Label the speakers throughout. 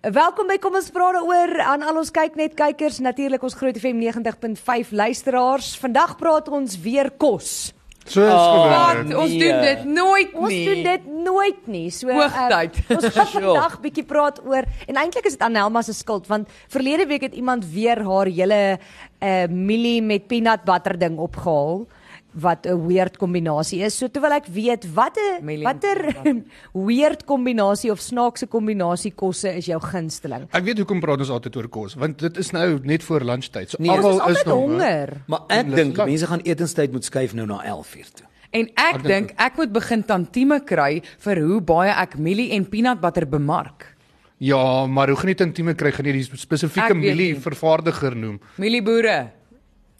Speaker 1: Welkom by Kom ons vra daaroor aan al ons kyk net kykers, natuurlik ons Groot FM 90.5 luisteraars. Vandag praat ons weer kos.
Speaker 2: Soos
Speaker 3: Wat?
Speaker 2: gewoonlik.
Speaker 3: Ons
Speaker 4: nee.
Speaker 3: doen dit nooit
Speaker 1: Ons
Speaker 3: nie.
Speaker 1: doen dit nooit nie. So eh,
Speaker 3: Hoogtyd.
Speaker 1: ons gaan
Speaker 4: Sure.
Speaker 1: vandag bietjie praat oor en eintlik is dit Anelma se skuld want verlede week het iemand weer haar hele uh mielie met peanut butter ding opgehaal wat 'n weird kombinasie is. So terwyl ek weet watter
Speaker 3: Mielie en
Speaker 1: watter weird kombinasie of snaakse kombinasie kosse is jou gunsteling.
Speaker 2: Ek weet hoekom praat ons altyd oor kos, want dit is nou net voor lunchtyd. So
Speaker 4: Nee,
Speaker 2: nee,
Speaker 1: Ons is
Speaker 2: almal is
Speaker 1: altyd
Speaker 2: nog
Speaker 1: honger.
Speaker 4: Maar ek
Speaker 2: Dis
Speaker 4: dink
Speaker 2: lank.
Speaker 4: mense gaan etenstyd moet skuif nou na 11uur toe.
Speaker 3: En ek
Speaker 2: Ek dink
Speaker 3: dink ek moet begin tantieme kry vir hoe baie ek mielie en peanut butter bemark.
Speaker 2: Ja, maar hoe geniet intieme kry geniet die spesifieke
Speaker 3: Ek weet
Speaker 2: mielie
Speaker 3: nie.
Speaker 2: vervaardiger noem.
Speaker 3: Mielieboere,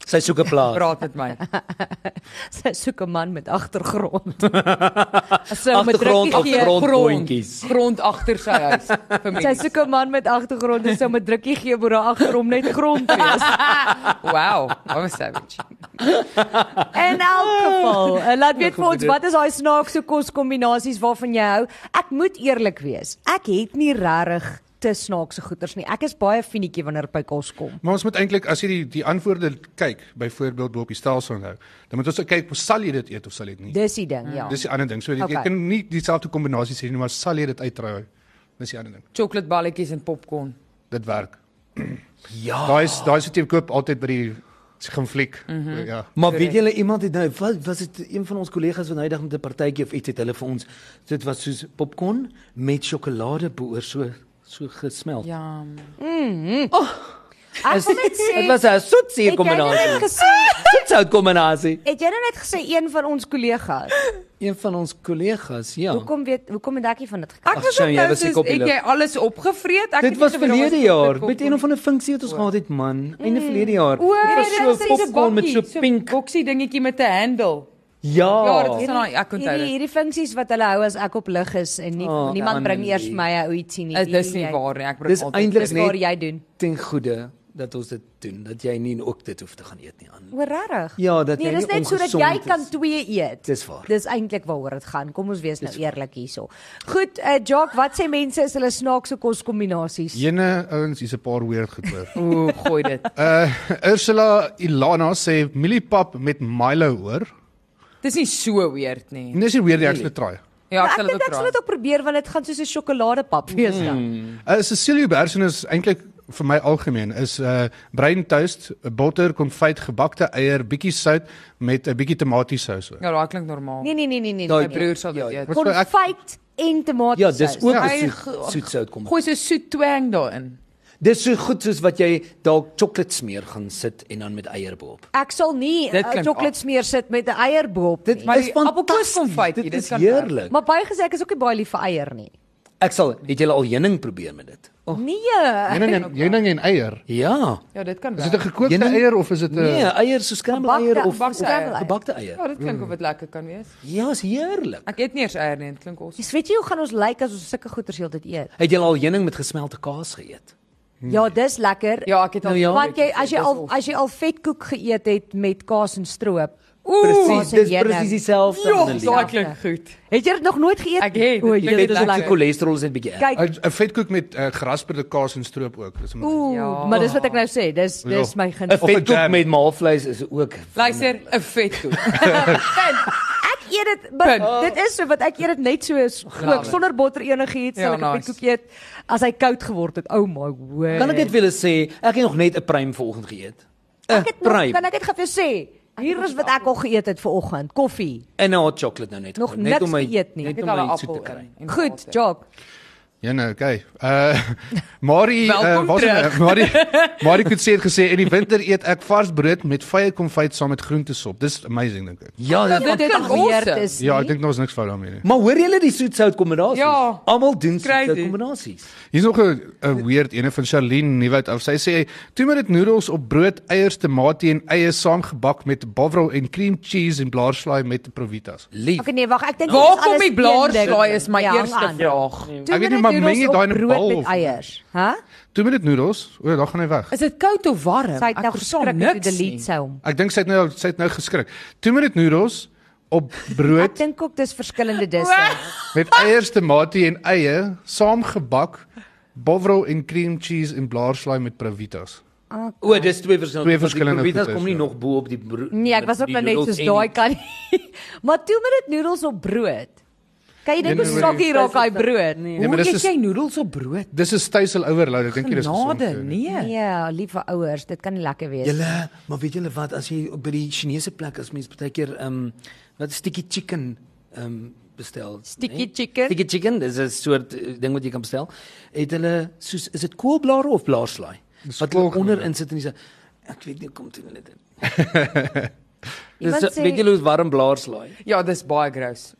Speaker 4: Sy soek 'n plaas.
Speaker 3: praat met my.
Speaker 1: Sy soek 'n man met agtergrond. Sy moet
Speaker 4: Agtergrond
Speaker 1: drukkie
Speaker 4: of
Speaker 1: gee.
Speaker 4: grondboontjies.
Speaker 3: Grond agter sy huis vir my.
Speaker 1: Sy soek 'n man met agtergrond en sy moet drukkie gee waar daar agter hom net grond is.
Speaker 3: Wow, I'm a savage.
Speaker 1: In elk geval, eh, laat weet vir ons wat is daai snaakse koskombinasies waarvan jy hou? Ek moet eerlik wees. Ek het nie regtig te snaakse goeters nie. Ek is baie finietjie wanneer by kos kom.
Speaker 2: Maar ons moet eintlik as jy die die antwoorde kyk, byvoorbeeld bo op die stelsel onthou, dan moet ons ook kyk, sal jy dit eet of sal jy dit nie?
Speaker 1: Dis die ding,
Speaker 4: Mm,
Speaker 1: ja.
Speaker 2: Dis die ander ding. So dit, okay.
Speaker 1: Okay.
Speaker 2: jy kan nie dieselfde kombinasie sê nie, maar sal jy dit uittrou? Dis die ander ding.
Speaker 3: Chokoladeballetjies en popcorn.
Speaker 2: Dit werk.
Speaker 4: Ja.
Speaker 2: Daai is daai is wat jy koop altyd by die konflik. Mm -hmm. Ja.
Speaker 4: Maar weet julle iemand het nou wat was dit een van ons kollegas van hydag met 'n partytjie of iets het hulle vir ons dit was soos popcorn met sjokoladeboer so so gesmelt. Ja.
Speaker 3: Ja.
Speaker 1: Ek wil net sê
Speaker 4: Dit was 'n soetsuur
Speaker 1: het jy nou net
Speaker 4: kombinasie.
Speaker 1: gesê
Speaker 4: Soetsout kombinasie.
Speaker 1: Het jy nou net gesê een van ons kollegas?
Speaker 4: Ja. Een van ons kollegas, ja.
Speaker 1: Hoekom weet hoekom het ek nie van dit gekry?
Speaker 3: Ek
Speaker 4: Ag,
Speaker 3: was
Speaker 4: Sjoe,
Speaker 3: net
Speaker 4: jy
Speaker 3: nou
Speaker 4: was die
Speaker 3: soos
Speaker 4: kop in
Speaker 3: het
Speaker 4: die
Speaker 3: jy alles opgevreet? Ek
Speaker 4: Dit
Speaker 3: het
Speaker 4: was
Speaker 3: nie geweet daar
Speaker 4: verlede
Speaker 3: chocolate
Speaker 4: jaar
Speaker 3: popcorn.
Speaker 4: met een of ander funksie wat ons gehad het man. Einde verlede jaar.
Speaker 3: O,
Speaker 4: Dit was
Speaker 3: Mm. dit was
Speaker 4: so
Speaker 3: hierdie
Speaker 4: popcorn met so
Speaker 3: bakkie,
Speaker 4: pink.
Speaker 3: boksie dingetjie met 'n handle. Ja, dit
Speaker 4: Ja.
Speaker 3: was- Sanaai, ek onthou
Speaker 1: hierdie
Speaker 3: dit.
Speaker 1: hierdie funksies wat hulle hou as ek op lig is en nie,
Speaker 4: Oh,
Speaker 1: oh, niemand bring
Speaker 4: Annelie.
Speaker 1: eers my 'n ouetjie nie.
Speaker 3: Is dis nie
Speaker 1: Nee, Jy-
Speaker 3: waar nie. Ek bring
Speaker 4: Dis
Speaker 3: altyd
Speaker 4: eintlik
Speaker 1: Dis waar
Speaker 4: net
Speaker 1: jy doen.
Speaker 4: ten goede dat ons dit doen, dat jy nie ook dit hoef te gaan eet nie aan.
Speaker 1: Oor regtig?
Speaker 4: Ja, dat
Speaker 1: nee,
Speaker 4: jy
Speaker 1: dis
Speaker 4: nie
Speaker 1: net sodat jy
Speaker 4: ongesond
Speaker 1: kan
Speaker 4: is.
Speaker 1: twee eet.
Speaker 4: Dis waar.
Speaker 1: Dis eintlik waaroor dit gaan. Kom ons wees nou eerlik hierso. Goed, uh, Jock, wat sê mense is hulle snaakse koskombinasies?
Speaker 4: Ja,
Speaker 2: Jene ouens, hier's 'n paar weird goeie.
Speaker 3: Ooh, gooi dit.
Speaker 2: Uh Ursula Ilana sê mieliepap met Milo hoor.
Speaker 3: Dis nie so weird nie.
Speaker 2: Dis nie weer die ekste try.
Speaker 3: Ja, ek
Speaker 1: Maar
Speaker 3: sal dit
Speaker 1: dink
Speaker 3: ook
Speaker 1: ek sal dit
Speaker 3: raai.
Speaker 1: ook probeer want dit gaan soos 'n sjokoladepap
Speaker 4: Mm.
Speaker 1: wees dan.
Speaker 2: Uh Cecilia Bersen is eintlik vir my algemeen is uh bruin toast, botter, konfyt, gebakte eier, bietjie sout met 'n bietjie tomatiesous.
Speaker 3: Ja, daai klink normaal.
Speaker 1: Nee nee nee nee nee.
Speaker 3: My
Speaker 4: Daai
Speaker 1: nee.
Speaker 3: broer sal dit
Speaker 4: Ja,
Speaker 3: eet.
Speaker 2: Wat sê ek?
Speaker 1: Konfyt en tomatiesous.
Speaker 4: Ja, dis ook 'n
Speaker 3: Ja.
Speaker 4: soet- soetsout kom.
Speaker 3: Gooi so soet twang daarin.
Speaker 4: Dis so goed soos wat jy dalk sjokolade smeer gaan sit en dan met eier bo-op.
Speaker 1: Ek sal nie
Speaker 3: Dit
Speaker 1: 'n
Speaker 3: klink
Speaker 1: sjokolade
Speaker 3: af.
Speaker 1: smeer sit met 'n eierboop nie.
Speaker 3: maar die appelkoes konfyt
Speaker 4: Dit
Speaker 3: hier, dit
Speaker 4: is
Speaker 3: kan
Speaker 4: heerlik.
Speaker 1: Maar baie gesê ek is ook nie baie lief vir eier nie.
Speaker 4: Ek sal, het julle al heuning probeer met dit? Oh,
Speaker 1: Nee.
Speaker 2: Jenning en jenning en eier.
Speaker 4: ja.
Speaker 3: Ja, dit kan
Speaker 2: Is
Speaker 3: wel.
Speaker 2: dit 'n gekookte
Speaker 4: Jenning-
Speaker 2: eier of is dit eh, 'n
Speaker 4: Nee, eier so scrambled eier of
Speaker 3: gebakte eier.
Speaker 4: of gebakte eier.
Speaker 3: Ja, dit klink of dit lekker kan wees.
Speaker 4: Ja, is heerlik.
Speaker 3: Ek eet nie eers eier nie, dit klink ons.
Speaker 1: Jy weet jy hoe gaan ons lyk as ons sulke goeters heeltyd eet?
Speaker 4: Het julle al heuning met gesmelte kaas geëet?
Speaker 1: Ja, dis lekker.
Speaker 3: Ja, ek het al
Speaker 4: Nou Hmm. ja.
Speaker 1: Want jy as jy al as jy al vetkoek geëet het met kaas en stroop.
Speaker 4: Presies,
Speaker 1: kaas en
Speaker 4: dis
Speaker 1: heuning.
Speaker 4: presies dieselfde.
Speaker 3: Ja,
Speaker 4: Annelie.
Speaker 3: daai klink goed.
Speaker 1: Het jy dit nog nooit geëet?
Speaker 3: Ek het, dit
Speaker 1: O,
Speaker 3: klink
Speaker 1: jy,
Speaker 4: Dit
Speaker 1: dit
Speaker 4: is
Speaker 1: is
Speaker 3: lekker.
Speaker 4: die
Speaker 1: lekker.
Speaker 4: cholesterol is net bietjie. erg.
Speaker 1: Kyk,
Speaker 2: 'n 'n vetkoek met uh, gerasperde kaas en stroop ook. Dis amazing.
Speaker 1: ooh,
Speaker 3: Ja.
Speaker 1: maar dis wat ek nou sê, dis dis
Speaker 2: Ja.
Speaker 1: my
Speaker 4: 'n
Speaker 2: of
Speaker 1: gunsteling.
Speaker 2: a
Speaker 4: Vetkoek
Speaker 2: jam.
Speaker 4: met maalvleis is ook
Speaker 3: Luister, 'n vet toe.
Speaker 1: Ek eet dit, maar
Speaker 3: Punt.
Speaker 1: dit is so wat ek eet dit net so is
Speaker 3: Love
Speaker 1: gekook
Speaker 3: it.
Speaker 1: sonder botter enigiets,
Speaker 3: Ja,
Speaker 1: sal ek 'n
Speaker 3: nice.
Speaker 1: vetkoek eet as hy koud geword het. Oh my word.
Speaker 4: Kan ek dit vir julle sê? Ek het nog net 'n prime vanoggend geëet. 'n
Speaker 1: Ek het nog, kan
Speaker 4: Prime
Speaker 1: ek dit gou vir jou sê? Hier is wat ek al geëet het vir oggend, koffie.
Speaker 4: en 'n hot chocolate nou net.
Speaker 1: Nog
Speaker 4: gekoop, net
Speaker 1: niks
Speaker 4: om my
Speaker 1: geëet nie.
Speaker 4: Net
Speaker 3: Ek
Speaker 4: om
Speaker 3: het al 'n
Speaker 4: my soet te
Speaker 3: appel
Speaker 4: kry.
Speaker 3: in. en
Speaker 1: Goed,
Speaker 3: water.
Speaker 1: Jock.
Speaker 2: Ja nou, okay. Uh Marie uh,
Speaker 3: Welkom
Speaker 2: was
Speaker 3: terug.
Speaker 2: Marie Marie het sê het gesê in die winter eet ek vars brood met vye konfyt saam met groentesop. Dis amazing dink ek.
Speaker 4: Ja, dit
Speaker 3: Dit klink awesome.
Speaker 1: is.
Speaker 2: Ja,
Speaker 1: nie.
Speaker 2: ek dink daar's niks fout daarmee nie.
Speaker 4: Maar hoor julle die soetsout kombinasies?
Speaker 3: Ja.
Speaker 4: Almal doen
Speaker 3: Crazy.
Speaker 4: soetsout kombinasies.
Speaker 2: Hier's nog 'n 'n weird ene van Charlene Nieuwoud af. Sy sê toe met dit noedels op brood, eiers, tamatie en eie saamgebak met bovrol en cream cheese en blaarslaai met provitas.
Speaker 4: Lief.
Speaker 1: Okay nee, wag, ek dink
Speaker 3: Waar
Speaker 1: dis
Speaker 3: kom
Speaker 1: alles
Speaker 3: die
Speaker 1: een ding.
Speaker 3: blaarslaai is my
Speaker 1: Ja,
Speaker 3: eerste
Speaker 1: hang aan.
Speaker 3: vraag.
Speaker 1: Toe
Speaker 2: Ek weet nie,
Speaker 1: met noedels
Speaker 2: maar meng jy
Speaker 1: op
Speaker 2: daai in 'n
Speaker 1: brood
Speaker 2: bal
Speaker 1: met
Speaker 2: of-
Speaker 1: eiers, hè?
Speaker 3: Ja.
Speaker 2: Toe met dit noedels, o, daar gaan hy weg.
Speaker 3: Is dit koud of warm?
Speaker 1: Sy het nou
Speaker 3: Ek verstaan
Speaker 1: geskrik toe
Speaker 3: niks nie.
Speaker 1: delete sy hom.
Speaker 2: Ek dink sy het nou sy het nou geskrik. Toe met dit noedels op
Speaker 1: Ek
Speaker 2: brood
Speaker 1: dink ook dis verskillende disse.
Speaker 2: met eiers, tamatie en eie saamgebak Bovril en cream cheese en blaarslaai met pravitas.
Speaker 4: O, dis
Speaker 2: Twee
Speaker 4: twee verskillende. want die
Speaker 2: verskillende
Speaker 4: Provitas
Speaker 2: goedes,
Speaker 4: kom nie
Speaker 2: ja.
Speaker 4: nog bo op die bro-
Speaker 1: Nee, ek was ook
Speaker 4: die
Speaker 1: nou net
Speaker 4: noedels
Speaker 1: soos
Speaker 4: en
Speaker 1: daai
Speaker 4: die-
Speaker 1: kan nie. maar toe met dit noedels op brood. Kan jy net
Speaker 2: Nee,
Speaker 1: hoe
Speaker 2: nee,
Speaker 1: sakkie raak daai brood?
Speaker 2: Nee,
Speaker 3: Hoe
Speaker 2: maar dis
Speaker 3: eet
Speaker 2: is-
Speaker 3: jy noedels op brood?
Speaker 2: Dis 'n styl overload, ek dink jy dis gesond. eh.
Speaker 3: Genade,
Speaker 2: Tony.
Speaker 3: nee.
Speaker 1: Ja, lief vir ouers, dit kan nie lekker wees.
Speaker 4: Julle, maar weet julle wat as jy by die Chinese plek as mens baie keer ehm um, wat is sticky chicken ehm um, bestel.
Speaker 1: Sticky chicken?
Speaker 3: Nee.
Speaker 4: Sticky chicken, dis 'n soort eh, ding wat jy kan bestel. Het hulle soos is dit koolblare of blaarslaai?
Speaker 2: Dis
Speaker 4: Wat hulle
Speaker 2: koolblare.
Speaker 4: onder insit en dis ek weet nie hoe kom dit hulle dit.
Speaker 1: Iemand
Speaker 4: Dis
Speaker 1: sê-
Speaker 4: weet julle hoe warm blaarslaai.
Speaker 3: Ja, dis baie gross.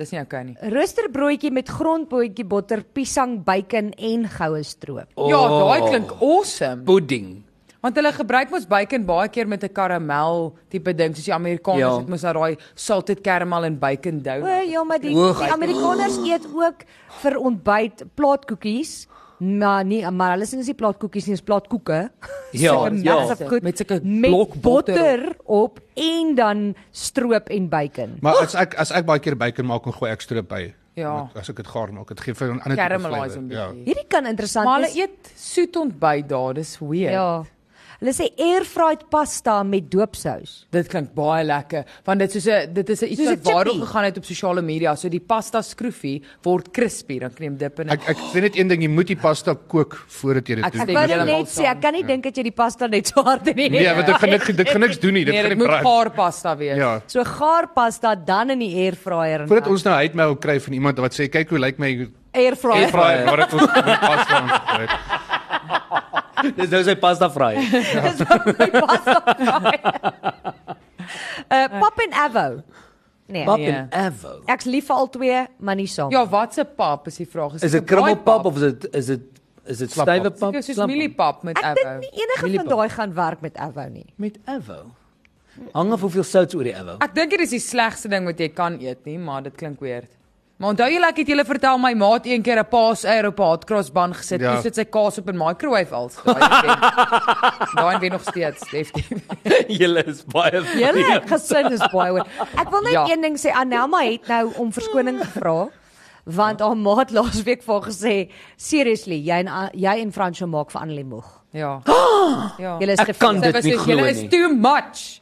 Speaker 3: Dis nie okay nie.
Speaker 1: Roosterbroodjie met grondboontjie botter, piesang, bacon en goue stroop.
Speaker 3: Ja,
Speaker 2: Oh.
Speaker 3: daai klink awesome.
Speaker 4: pudding.
Speaker 3: Want hulle gebruik mos bacon baie keer met 'n karamel tipe ding, soos die Amerikaners
Speaker 4: Ja.
Speaker 3: het mos nou daai salted caramel en bacon
Speaker 1: O
Speaker 3: dough.
Speaker 1: ja, maar die,
Speaker 4: Hoog.
Speaker 1: die Amerikaners eet ook vir ontbyt plaatkoekies. Maar nie, maar hulle sien is nie plaatkoekies nie, is plaatkoeke.
Speaker 4: Ja,
Speaker 1: Sulke
Speaker 4: ja.
Speaker 1: massive goed,
Speaker 3: Met sulke
Speaker 1: met
Speaker 3: blok botter
Speaker 1: botter op en dan stroop en bacon.
Speaker 2: Maar as ek as ek baie keer bacon maak en gooi ek stroop by.
Speaker 3: Ja.
Speaker 2: As ek dit gaar maak, dit gee vir 'n ander tipe
Speaker 3: Caramelize
Speaker 2: flavour.
Speaker 3: 'n
Speaker 2: Ja.
Speaker 3: bietjie.
Speaker 1: Hierdie kan interessant
Speaker 3: Maar
Speaker 1: wees.
Speaker 3: hulle eet soet ontbyt daar, dis weird.
Speaker 1: Ja. Hulle sê airfried pasta met doopsous.
Speaker 3: Dit klink baie lekker want dit soos 'n dit is 'n iets
Speaker 1: Soos 'n
Speaker 3: wat viral
Speaker 1: chippy.
Speaker 3: gegaan het op sosiale media. So die pasta skroefie word crispy, dan kan jy hom dip in. 'n-
Speaker 2: Nou. Ek ek sê net een ding, jy moet die pasta kook voordat jy dit
Speaker 3: Ek
Speaker 2: doen.
Speaker 1: Ek
Speaker 3: stem
Speaker 1: wou
Speaker 3: heeltemal
Speaker 1: dit net sê,
Speaker 3: saam.
Speaker 1: ek kan nie dink dat jy die pasta net so hard in die
Speaker 2: Nee, want dit gaan niks dit gaan niks doen nie, dit
Speaker 3: nee,
Speaker 2: gaan
Speaker 3: dit
Speaker 2: nie
Speaker 3: moet
Speaker 2: brand.
Speaker 3: gaar pasta wees.
Speaker 2: Ja.
Speaker 1: So gaar pasta dan in die airfryer en
Speaker 2: Voordat ons nou uitmail kry van iemand wat sê kyk hoe lyk my
Speaker 1: airfryer.
Speaker 2: airfryer waar dit ons pasta aan het.
Speaker 4: Dis nou sy pasta fry.
Speaker 1: Dis nou my pasta. Eh pap en avo. Nee.
Speaker 4: Pap
Speaker 3: Nee.
Speaker 4: en avo.
Speaker 1: Ek's lief vir al twee, maar nie saam.
Speaker 3: Ja, wat se pap is die vraag?
Speaker 4: Is
Speaker 3: dit
Speaker 4: dit krummelpap of is dit is dit is dit
Speaker 2: Slappap.
Speaker 4: stywe pap?
Speaker 3: Dis soos
Speaker 4: Slappap.
Speaker 3: mieliepap met
Speaker 1: ek dink
Speaker 3: avocado.
Speaker 1: nie enige van
Speaker 4: Mieliepap.
Speaker 1: daai gaan werk met avo nie.
Speaker 4: met avo. Hang af hoeveel sout oor die avo.
Speaker 3: Ek dink dit is die slegste ding wat jy kan eet nie, maar dit klink weird. Maar onthou julle ek het julle vertel my maat een keer 'n paaseier op 'n hot cross bun gesit.
Speaker 2: Ja.
Speaker 3: Ja. Toe sit sy kaas op in microwave als. Daai wen- daai wen nog steeds definitief.
Speaker 4: Julle is baie
Speaker 1: Julle gesin is baie oor. Ek wil net ja.
Speaker 3: Ja.
Speaker 1: een ding sê, Anelma het nou om verskoning gevra want haar maat laasweek vir haar gesê, "Seriously, jy en A- jy en Fransjo maak vir Annelie moeg."
Speaker 3: Ja. Ja.
Speaker 1: Julle is
Speaker 4: Ek
Speaker 1: te
Speaker 4: kan
Speaker 1: veel.
Speaker 4: dit nie
Speaker 3: soos, julle
Speaker 4: glo
Speaker 3: is
Speaker 4: nie.
Speaker 3: too much.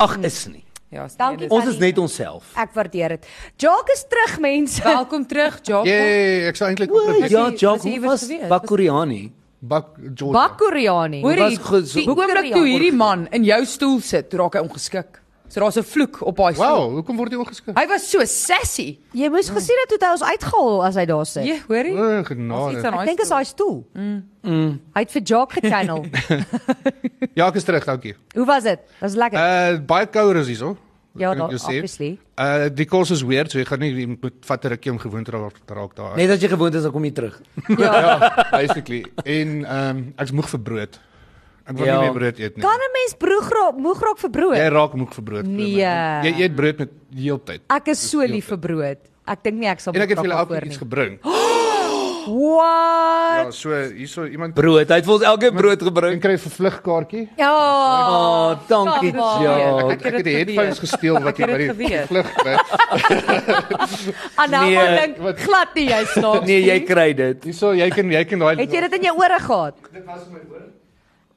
Speaker 4: Ag is nie.
Speaker 3: Ja, is-
Speaker 1: Dankie.
Speaker 3: nee, dis-
Speaker 4: Ons is net onsself.
Speaker 1: Ek waardeer dit. Jacques is terug, mense.
Speaker 3: Welkom terug, Jaco.
Speaker 2: Jee, ek sou eintlik ook net
Speaker 4: Ja,
Speaker 3: jy-
Speaker 4: Jock,
Speaker 3: was jy
Speaker 4: hoe
Speaker 3: iewers
Speaker 4: was
Speaker 3: gewees?
Speaker 4: Bak Koreani?
Speaker 2: bak George.
Speaker 1: Bak Koreani.
Speaker 3: Hoor
Speaker 4: Was
Speaker 3: jy,
Speaker 4: goed, so-
Speaker 3: die oomblik toe hierdie man in jou stoel sit, raak hy ongeskik. So daar's 'n vloek op hy stoel.
Speaker 2: Wow, hoekom word jy ongeskik?
Speaker 3: Hy was so sassy.
Speaker 1: Jy moes gesien het hoe hy ons uitgehaal as hy daar sit.
Speaker 3: Jy hoor jy?
Speaker 2: O,
Speaker 3: Daar's iets
Speaker 2: genade.
Speaker 3: aan
Speaker 1: Ek
Speaker 3: hy.
Speaker 1: dink is hy stoel. Mm. Hy het vir Jacques gechannel.
Speaker 2: Ja, ek is terug, dankie.
Speaker 1: hoe was dit? Was
Speaker 4: Eh.
Speaker 1: lekker.
Speaker 2: Uh baie kouer is hierso.
Speaker 1: ja,
Speaker 2: kan ek
Speaker 1: daar
Speaker 2: jou sê.
Speaker 1: obviously.
Speaker 2: Uh die kos is weird, so jy gaan nie jy moet vat 'n rukkie om gewoond te raak, te raak daar.
Speaker 4: Net as jy gewoond is, dan kom jy terug.
Speaker 1: Ja.
Speaker 2: basically. En ehm um, ek's moeg vir brood. Ek wil
Speaker 4: Ja.
Speaker 2: nie meer brood eet nie.
Speaker 1: Kan 'n mens broeg raak, moeg raak vir brood?
Speaker 2: Jy raak moeg vir brood. glo my.
Speaker 1: Nee.
Speaker 2: Jy eet brood met heeltyd.
Speaker 1: Ek is so lief vir brood. Ek dink nie ek sal
Speaker 2: En ek het vir julle
Speaker 1: moekrok daarvoor
Speaker 2: elke iets
Speaker 1: nie.
Speaker 2: gebring.
Speaker 1: What?
Speaker 2: Ja, so hierso iemand
Speaker 4: Brood, hy het vir ons elke brood
Speaker 2: en
Speaker 4: gebring.
Speaker 2: kry 'n vervlugkaartjie.
Speaker 1: Ja.
Speaker 4: Ah, oh, dankie.
Speaker 3: Come on.
Speaker 4: Ja.
Speaker 2: Ek
Speaker 3: het
Speaker 2: het die
Speaker 3: dit
Speaker 2: headphones gesteel wat
Speaker 3: Ek
Speaker 2: jy
Speaker 3: het
Speaker 2: by
Speaker 3: dit
Speaker 2: die
Speaker 3: geweet.
Speaker 2: vlug kry.
Speaker 1: Anna,
Speaker 4: Nee,
Speaker 1: nee, dink
Speaker 2: wat-
Speaker 1: glad nie jy snaaks.
Speaker 4: Nee, jy kry dit.
Speaker 2: Hierso jy kan jy kan daai
Speaker 1: Het jy dit in jou ore gehad?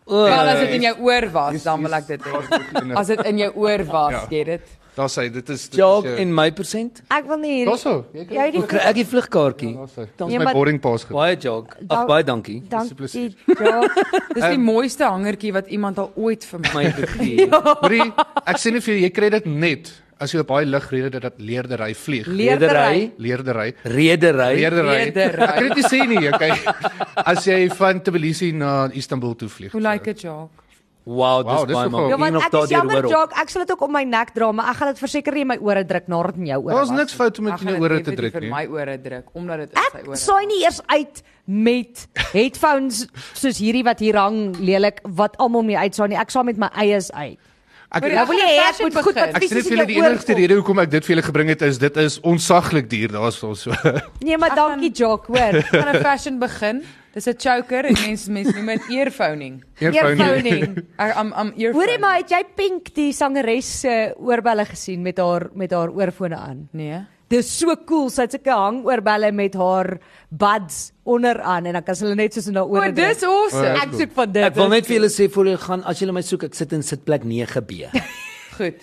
Speaker 4: O,
Speaker 3: Wel as dit in jou oor was,
Speaker 2: Dis-
Speaker 3: dan wil ek dit hê. As dit in jou oor was, jy dit.
Speaker 2: Daar sê dit is dit
Speaker 4: Jock
Speaker 2: is jou-
Speaker 4: en my persent.
Speaker 1: Ek wil nie hier. Ja,
Speaker 2: Daarso, jy
Speaker 1: Jy
Speaker 2: kan
Speaker 1: het die
Speaker 4: Kry ek die vlugkaartjie?
Speaker 2: Daarso.
Speaker 1: Nee,
Speaker 2: Dis my
Speaker 1: maar-
Speaker 2: boarding pass. ge-
Speaker 4: Baie Jock.
Speaker 1: Dank-
Speaker 4: Ag baie dankie.
Speaker 1: dankie.
Speaker 2: Disiplisties.
Speaker 1: Jacques.
Speaker 3: Dis
Speaker 2: Ehm,
Speaker 3: die mooiste hangertjie wat iemand al ooit vir my.
Speaker 4: My gegee.
Speaker 2: Hoorie, ek sê nie vir jou jy kry dit net as jy op baie lig rede dat leerdery vlieg.
Speaker 1: Leerdery.
Speaker 2: Leerdery.
Speaker 4: Redery.
Speaker 2: Leerdery. Ek
Speaker 3: Leerdery.
Speaker 2: kan dit nie sê nie, okay. As jy van Tbilisi na Istanbul toe vlieg.
Speaker 3: Hoe lyk dit, Jacques?
Speaker 2: Wow,
Speaker 4: Wow, dis
Speaker 2: dis
Speaker 4: baie
Speaker 2: nogal-
Speaker 4: maklik.
Speaker 1: Ja,
Speaker 4: Hier
Speaker 1: want
Speaker 4: nog
Speaker 1: ek is
Speaker 4: daardeur
Speaker 1: jammer,
Speaker 4: hoor op.
Speaker 1: Jacques, ek sal dit ook om my nek dra, maar ek gaan dit verseker nie in my ore druk nadat dit in jou ore
Speaker 2: Daar's
Speaker 1: was.
Speaker 2: niks fout om
Speaker 3: Ek
Speaker 2: met
Speaker 3: gaan
Speaker 2: jou
Speaker 3: dit
Speaker 2: ore te
Speaker 3: definitief
Speaker 2: druk
Speaker 3: In
Speaker 2: nie.
Speaker 3: my ore druk omdat dit in sy
Speaker 1: Ek
Speaker 3: ore.
Speaker 1: saai nie eers uit met headphones soos hierdie wat hier hang lelik wat almal mee uitsaai nie. Ek saai met my eies uit.
Speaker 2: Ek
Speaker 3: Hoor
Speaker 1: Nou wil jy hê ek moet goed
Speaker 2: Ek sê
Speaker 3: Ek
Speaker 1: advies
Speaker 2: net vir julle die enigste rede hoekom ek dit vir julle gebring het is dit is onsaglik duur. Daar's ons so.
Speaker 1: Nee, maar dankie Jock, hoor.
Speaker 3: Ek gaan 'n fashion begin. Dis 'n choker en mense mense noem dit earphoning. Earphoning. Ek am am earphoning.
Speaker 1: Hoorie maar, het jy Pink die sangeres se oorbelle gesien met haar met haar oorfone aan?
Speaker 3: Nee.
Speaker 1: Dis so cool. Sy het sulke hangoorballe met haar buds onderaan en dan kan sy hulle net soos in haar
Speaker 3: O,
Speaker 1: ore
Speaker 3: dis
Speaker 1: druk.
Speaker 3: awesome.
Speaker 1: Ek soek van dit.
Speaker 4: Ek wil net vir julle sê voor julle gaan, as julle my soek, ek sit in sitplek 9B.
Speaker 3: Goed.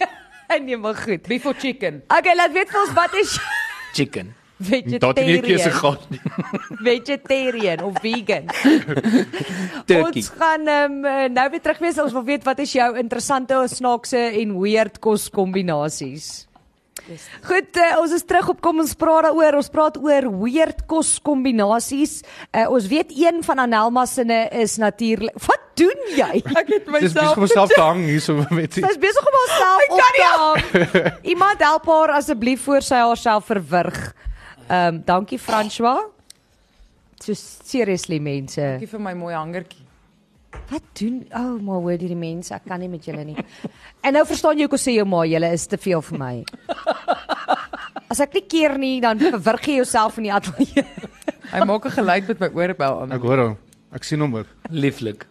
Speaker 1: nee, maar goed.
Speaker 3: Beef or chicken?
Speaker 1: Okay, laat weet vir ons wat is
Speaker 4: Chicken.
Speaker 2: Dat het nie keuse
Speaker 1: vegetarian,
Speaker 2: gehad nie.
Speaker 1: vegetarian of vegan.
Speaker 4: Turkey.
Speaker 1: Ons gaan um, nou weer terug wees. Ons wil weet wat is jou interessante, snaakse en weird koskombinasies. Goed, uh, ons is terug op kom ons praat daaroor. Ons praat oor weird koskombinasies. Uh, ons weet een van Anelma sinne is natuurlik. Wat doen jy?
Speaker 3: Ek het
Speaker 2: Dis besig om myself te hang hierso met die
Speaker 1: Sy is besig om haarself op te hang. Iemand help haar asseblief voor sy haarself verwrig. Ehm um, dankie François. So seriously mense.
Speaker 3: Dankie vir my mooi hangertjie.
Speaker 1: Wat doen? O, oh, maar hoor hierdie mense, ek kan nie met julle nie. En nou verstaan jy hoekom sê jou ma, julle is te veel vir my. As ek nie keer nie, dan verwrig jy jouself in die ateljee.
Speaker 3: Hy maak 'n geluid met my oorbel aan.
Speaker 2: Ek hoor hom. Ek sien hom ook.
Speaker 4: Lieflik.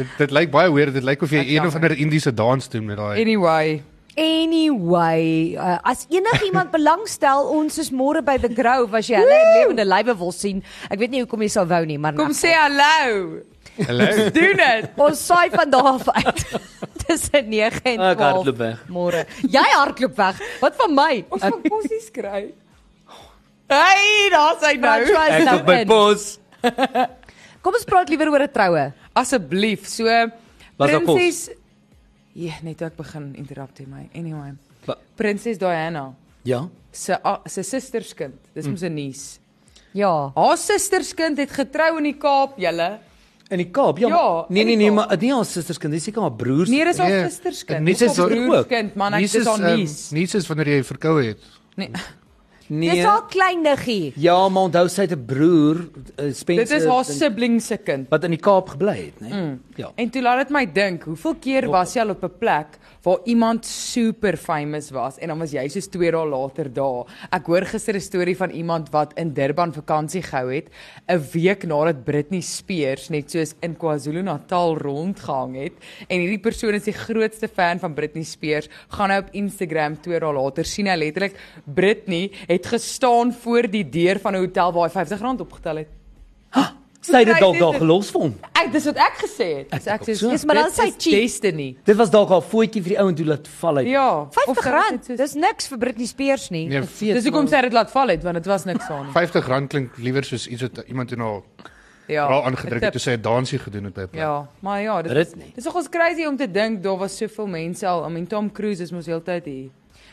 Speaker 2: Dit dit lyk baie weird. Dit lyk of jy
Speaker 3: Ek
Speaker 2: een
Speaker 3: jammer.
Speaker 2: of ander Indiese dans doen met daai.
Speaker 3: Anyway,
Speaker 1: Anyway, uh, as enigiemand belangstel, ons is môre by the Grove as jy hulle in lewende lywe wil sien. Ek weet nie hoekom jy sal wou nie, maar nou,
Speaker 3: kom sê hallo.
Speaker 2: Hallo.
Speaker 3: Doen dit.
Speaker 1: ons saai van daar af uit tussen 9 en
Speaker 4: Ah, Ek
Speaker 1: 12
Speaker 4: hardloop weg.
Speaker 1: môre. Jy hardloop weg. Wat van my? Eh,
Speaker 3: Ons gaan kosies kry. Hey, daar's hy nou.
Speaker 1: François is
Speaker 4: Ek
Speaker 1: nou
Speaker 4: op my
Speaker 1: in.
Speaker 4: pos.
Speaker 1: Kom ons praat liewer oor 'n troue.
Speaker 3: Asseblief, so
Speaker 4: Was daar kos?
Speaker 3: prinses Ja, net toe ek begin interrupt hê my. Anyway,
Speaker 4: Wa-
Speaker 3: prinses Diana
Speaker 4: Ja.
Speaker 3: se a- se susterskind. Dis mos 'n nuus.
Speaker 1: Ja.
Speaker 3: Haar susterskind het getrou in die Kaap, julle.
Speaker 4: In die Kaap, ja.
Speaker 3: Ja,
Speaker 4: maar- nee
Speaker 3: in die
Speaker 4: nee nee,
Speaker 3: Kaap.
Speaker 4: maar nie haar susterskind, dis seker haar broers.
Speaker 3: Nee, dis haar
Speaker 2: Ja,
Speaker 3: susterskind.
Speaker 2: nuus
Speaker 3: Dis
Speaker 2: is
Speaker 3: haar
Speaker 2: ook-
Speaker 3: broerskind, man, ek
Speaker 2: Nies
Speaker 3: dis haar
Speaker 2: ehm,
Speaker 3: nuus.
Speaker 2: nies is wanneer jy verkoue het.
Speaker 3: Nee.
Speaker 1: Dis
Speaker 4: nee.
Speaker 1: al klein niggie.
Speaker 4: Ja, maar onthou sy het 'n broer, eh, Spencer.
Speaker 3: Dit is haar
Speaker 4: dink-
Speaker 3: sibling se kind.
Speaker 4: wat in die Kaap gebly het, né? Mm. Ja.
Speaker 3: En toe laat dit my dink, hoeveel keer was jy al op 'n plek waar iemand super famous was en dan was jy soos 2 dae later daar. Ek hoor gister 'n storie van iemand wat in Durban vakansie gehou het, 'n week nadat Britney Spears net soos in KwaZulu-Natal rondgehang het en hierdie persoon is die grootste fan van Britney Spears, gaan nou op Instagram 2 dae later sien hy letterlik Britney het gestaan voor die deur van 'n hotel waar hy R50 opgetel het.
Speaker 4: Sy het dit
Speaker 3: Sy
Speaker 4: dalk
Speaker 3: het
Speaker 4: daar
Speaker 3: dit-
Speaker 4: gelos vir hom.
Speaker 3: Ek dis wat ek gesê het. Dis
Speaker 4: dink
Speaker 3: ek
Speaker 4: ook
Speaker 3: sê
Speaker 4: so.
Speaker 1: Yes, maar dan
Speaker 3: dit
Speaker 1: is hy
Speaker 3: is
Speaker 1: cheap.
Speaker 3: Destiny.
Speaker 4: Dit was dalk haar voetjie vir die ou en toe laat val uit.
Speaker 3: Ja, of dan is
Speaker 1: R50.
Speaker 3: dit soos-
Speaker 1: Dis niks vir Britney Spears nie.
Speaker 2: Nee,
Speaker 4: Feet,
Speaker 3: Dis hoekom sy dit laat val het want dit was niks aan nie.
Speaker 2: R50 klink liewer soos iets wat iemand in haar
Speaker 3: Ja.
Speaker 2: bra aangedruk het
Speaker 3: dit-
Speaker 2: toe sy 'n dansie gedoen het by 'n plek.
Speaker 3: Ja, maar ja, dit is
Speaker 4: Britney.
Speaker 3: dis nogals crazy om te dink daar was soveel mense al. I mean Tom Cruise is mos heeltyd hier.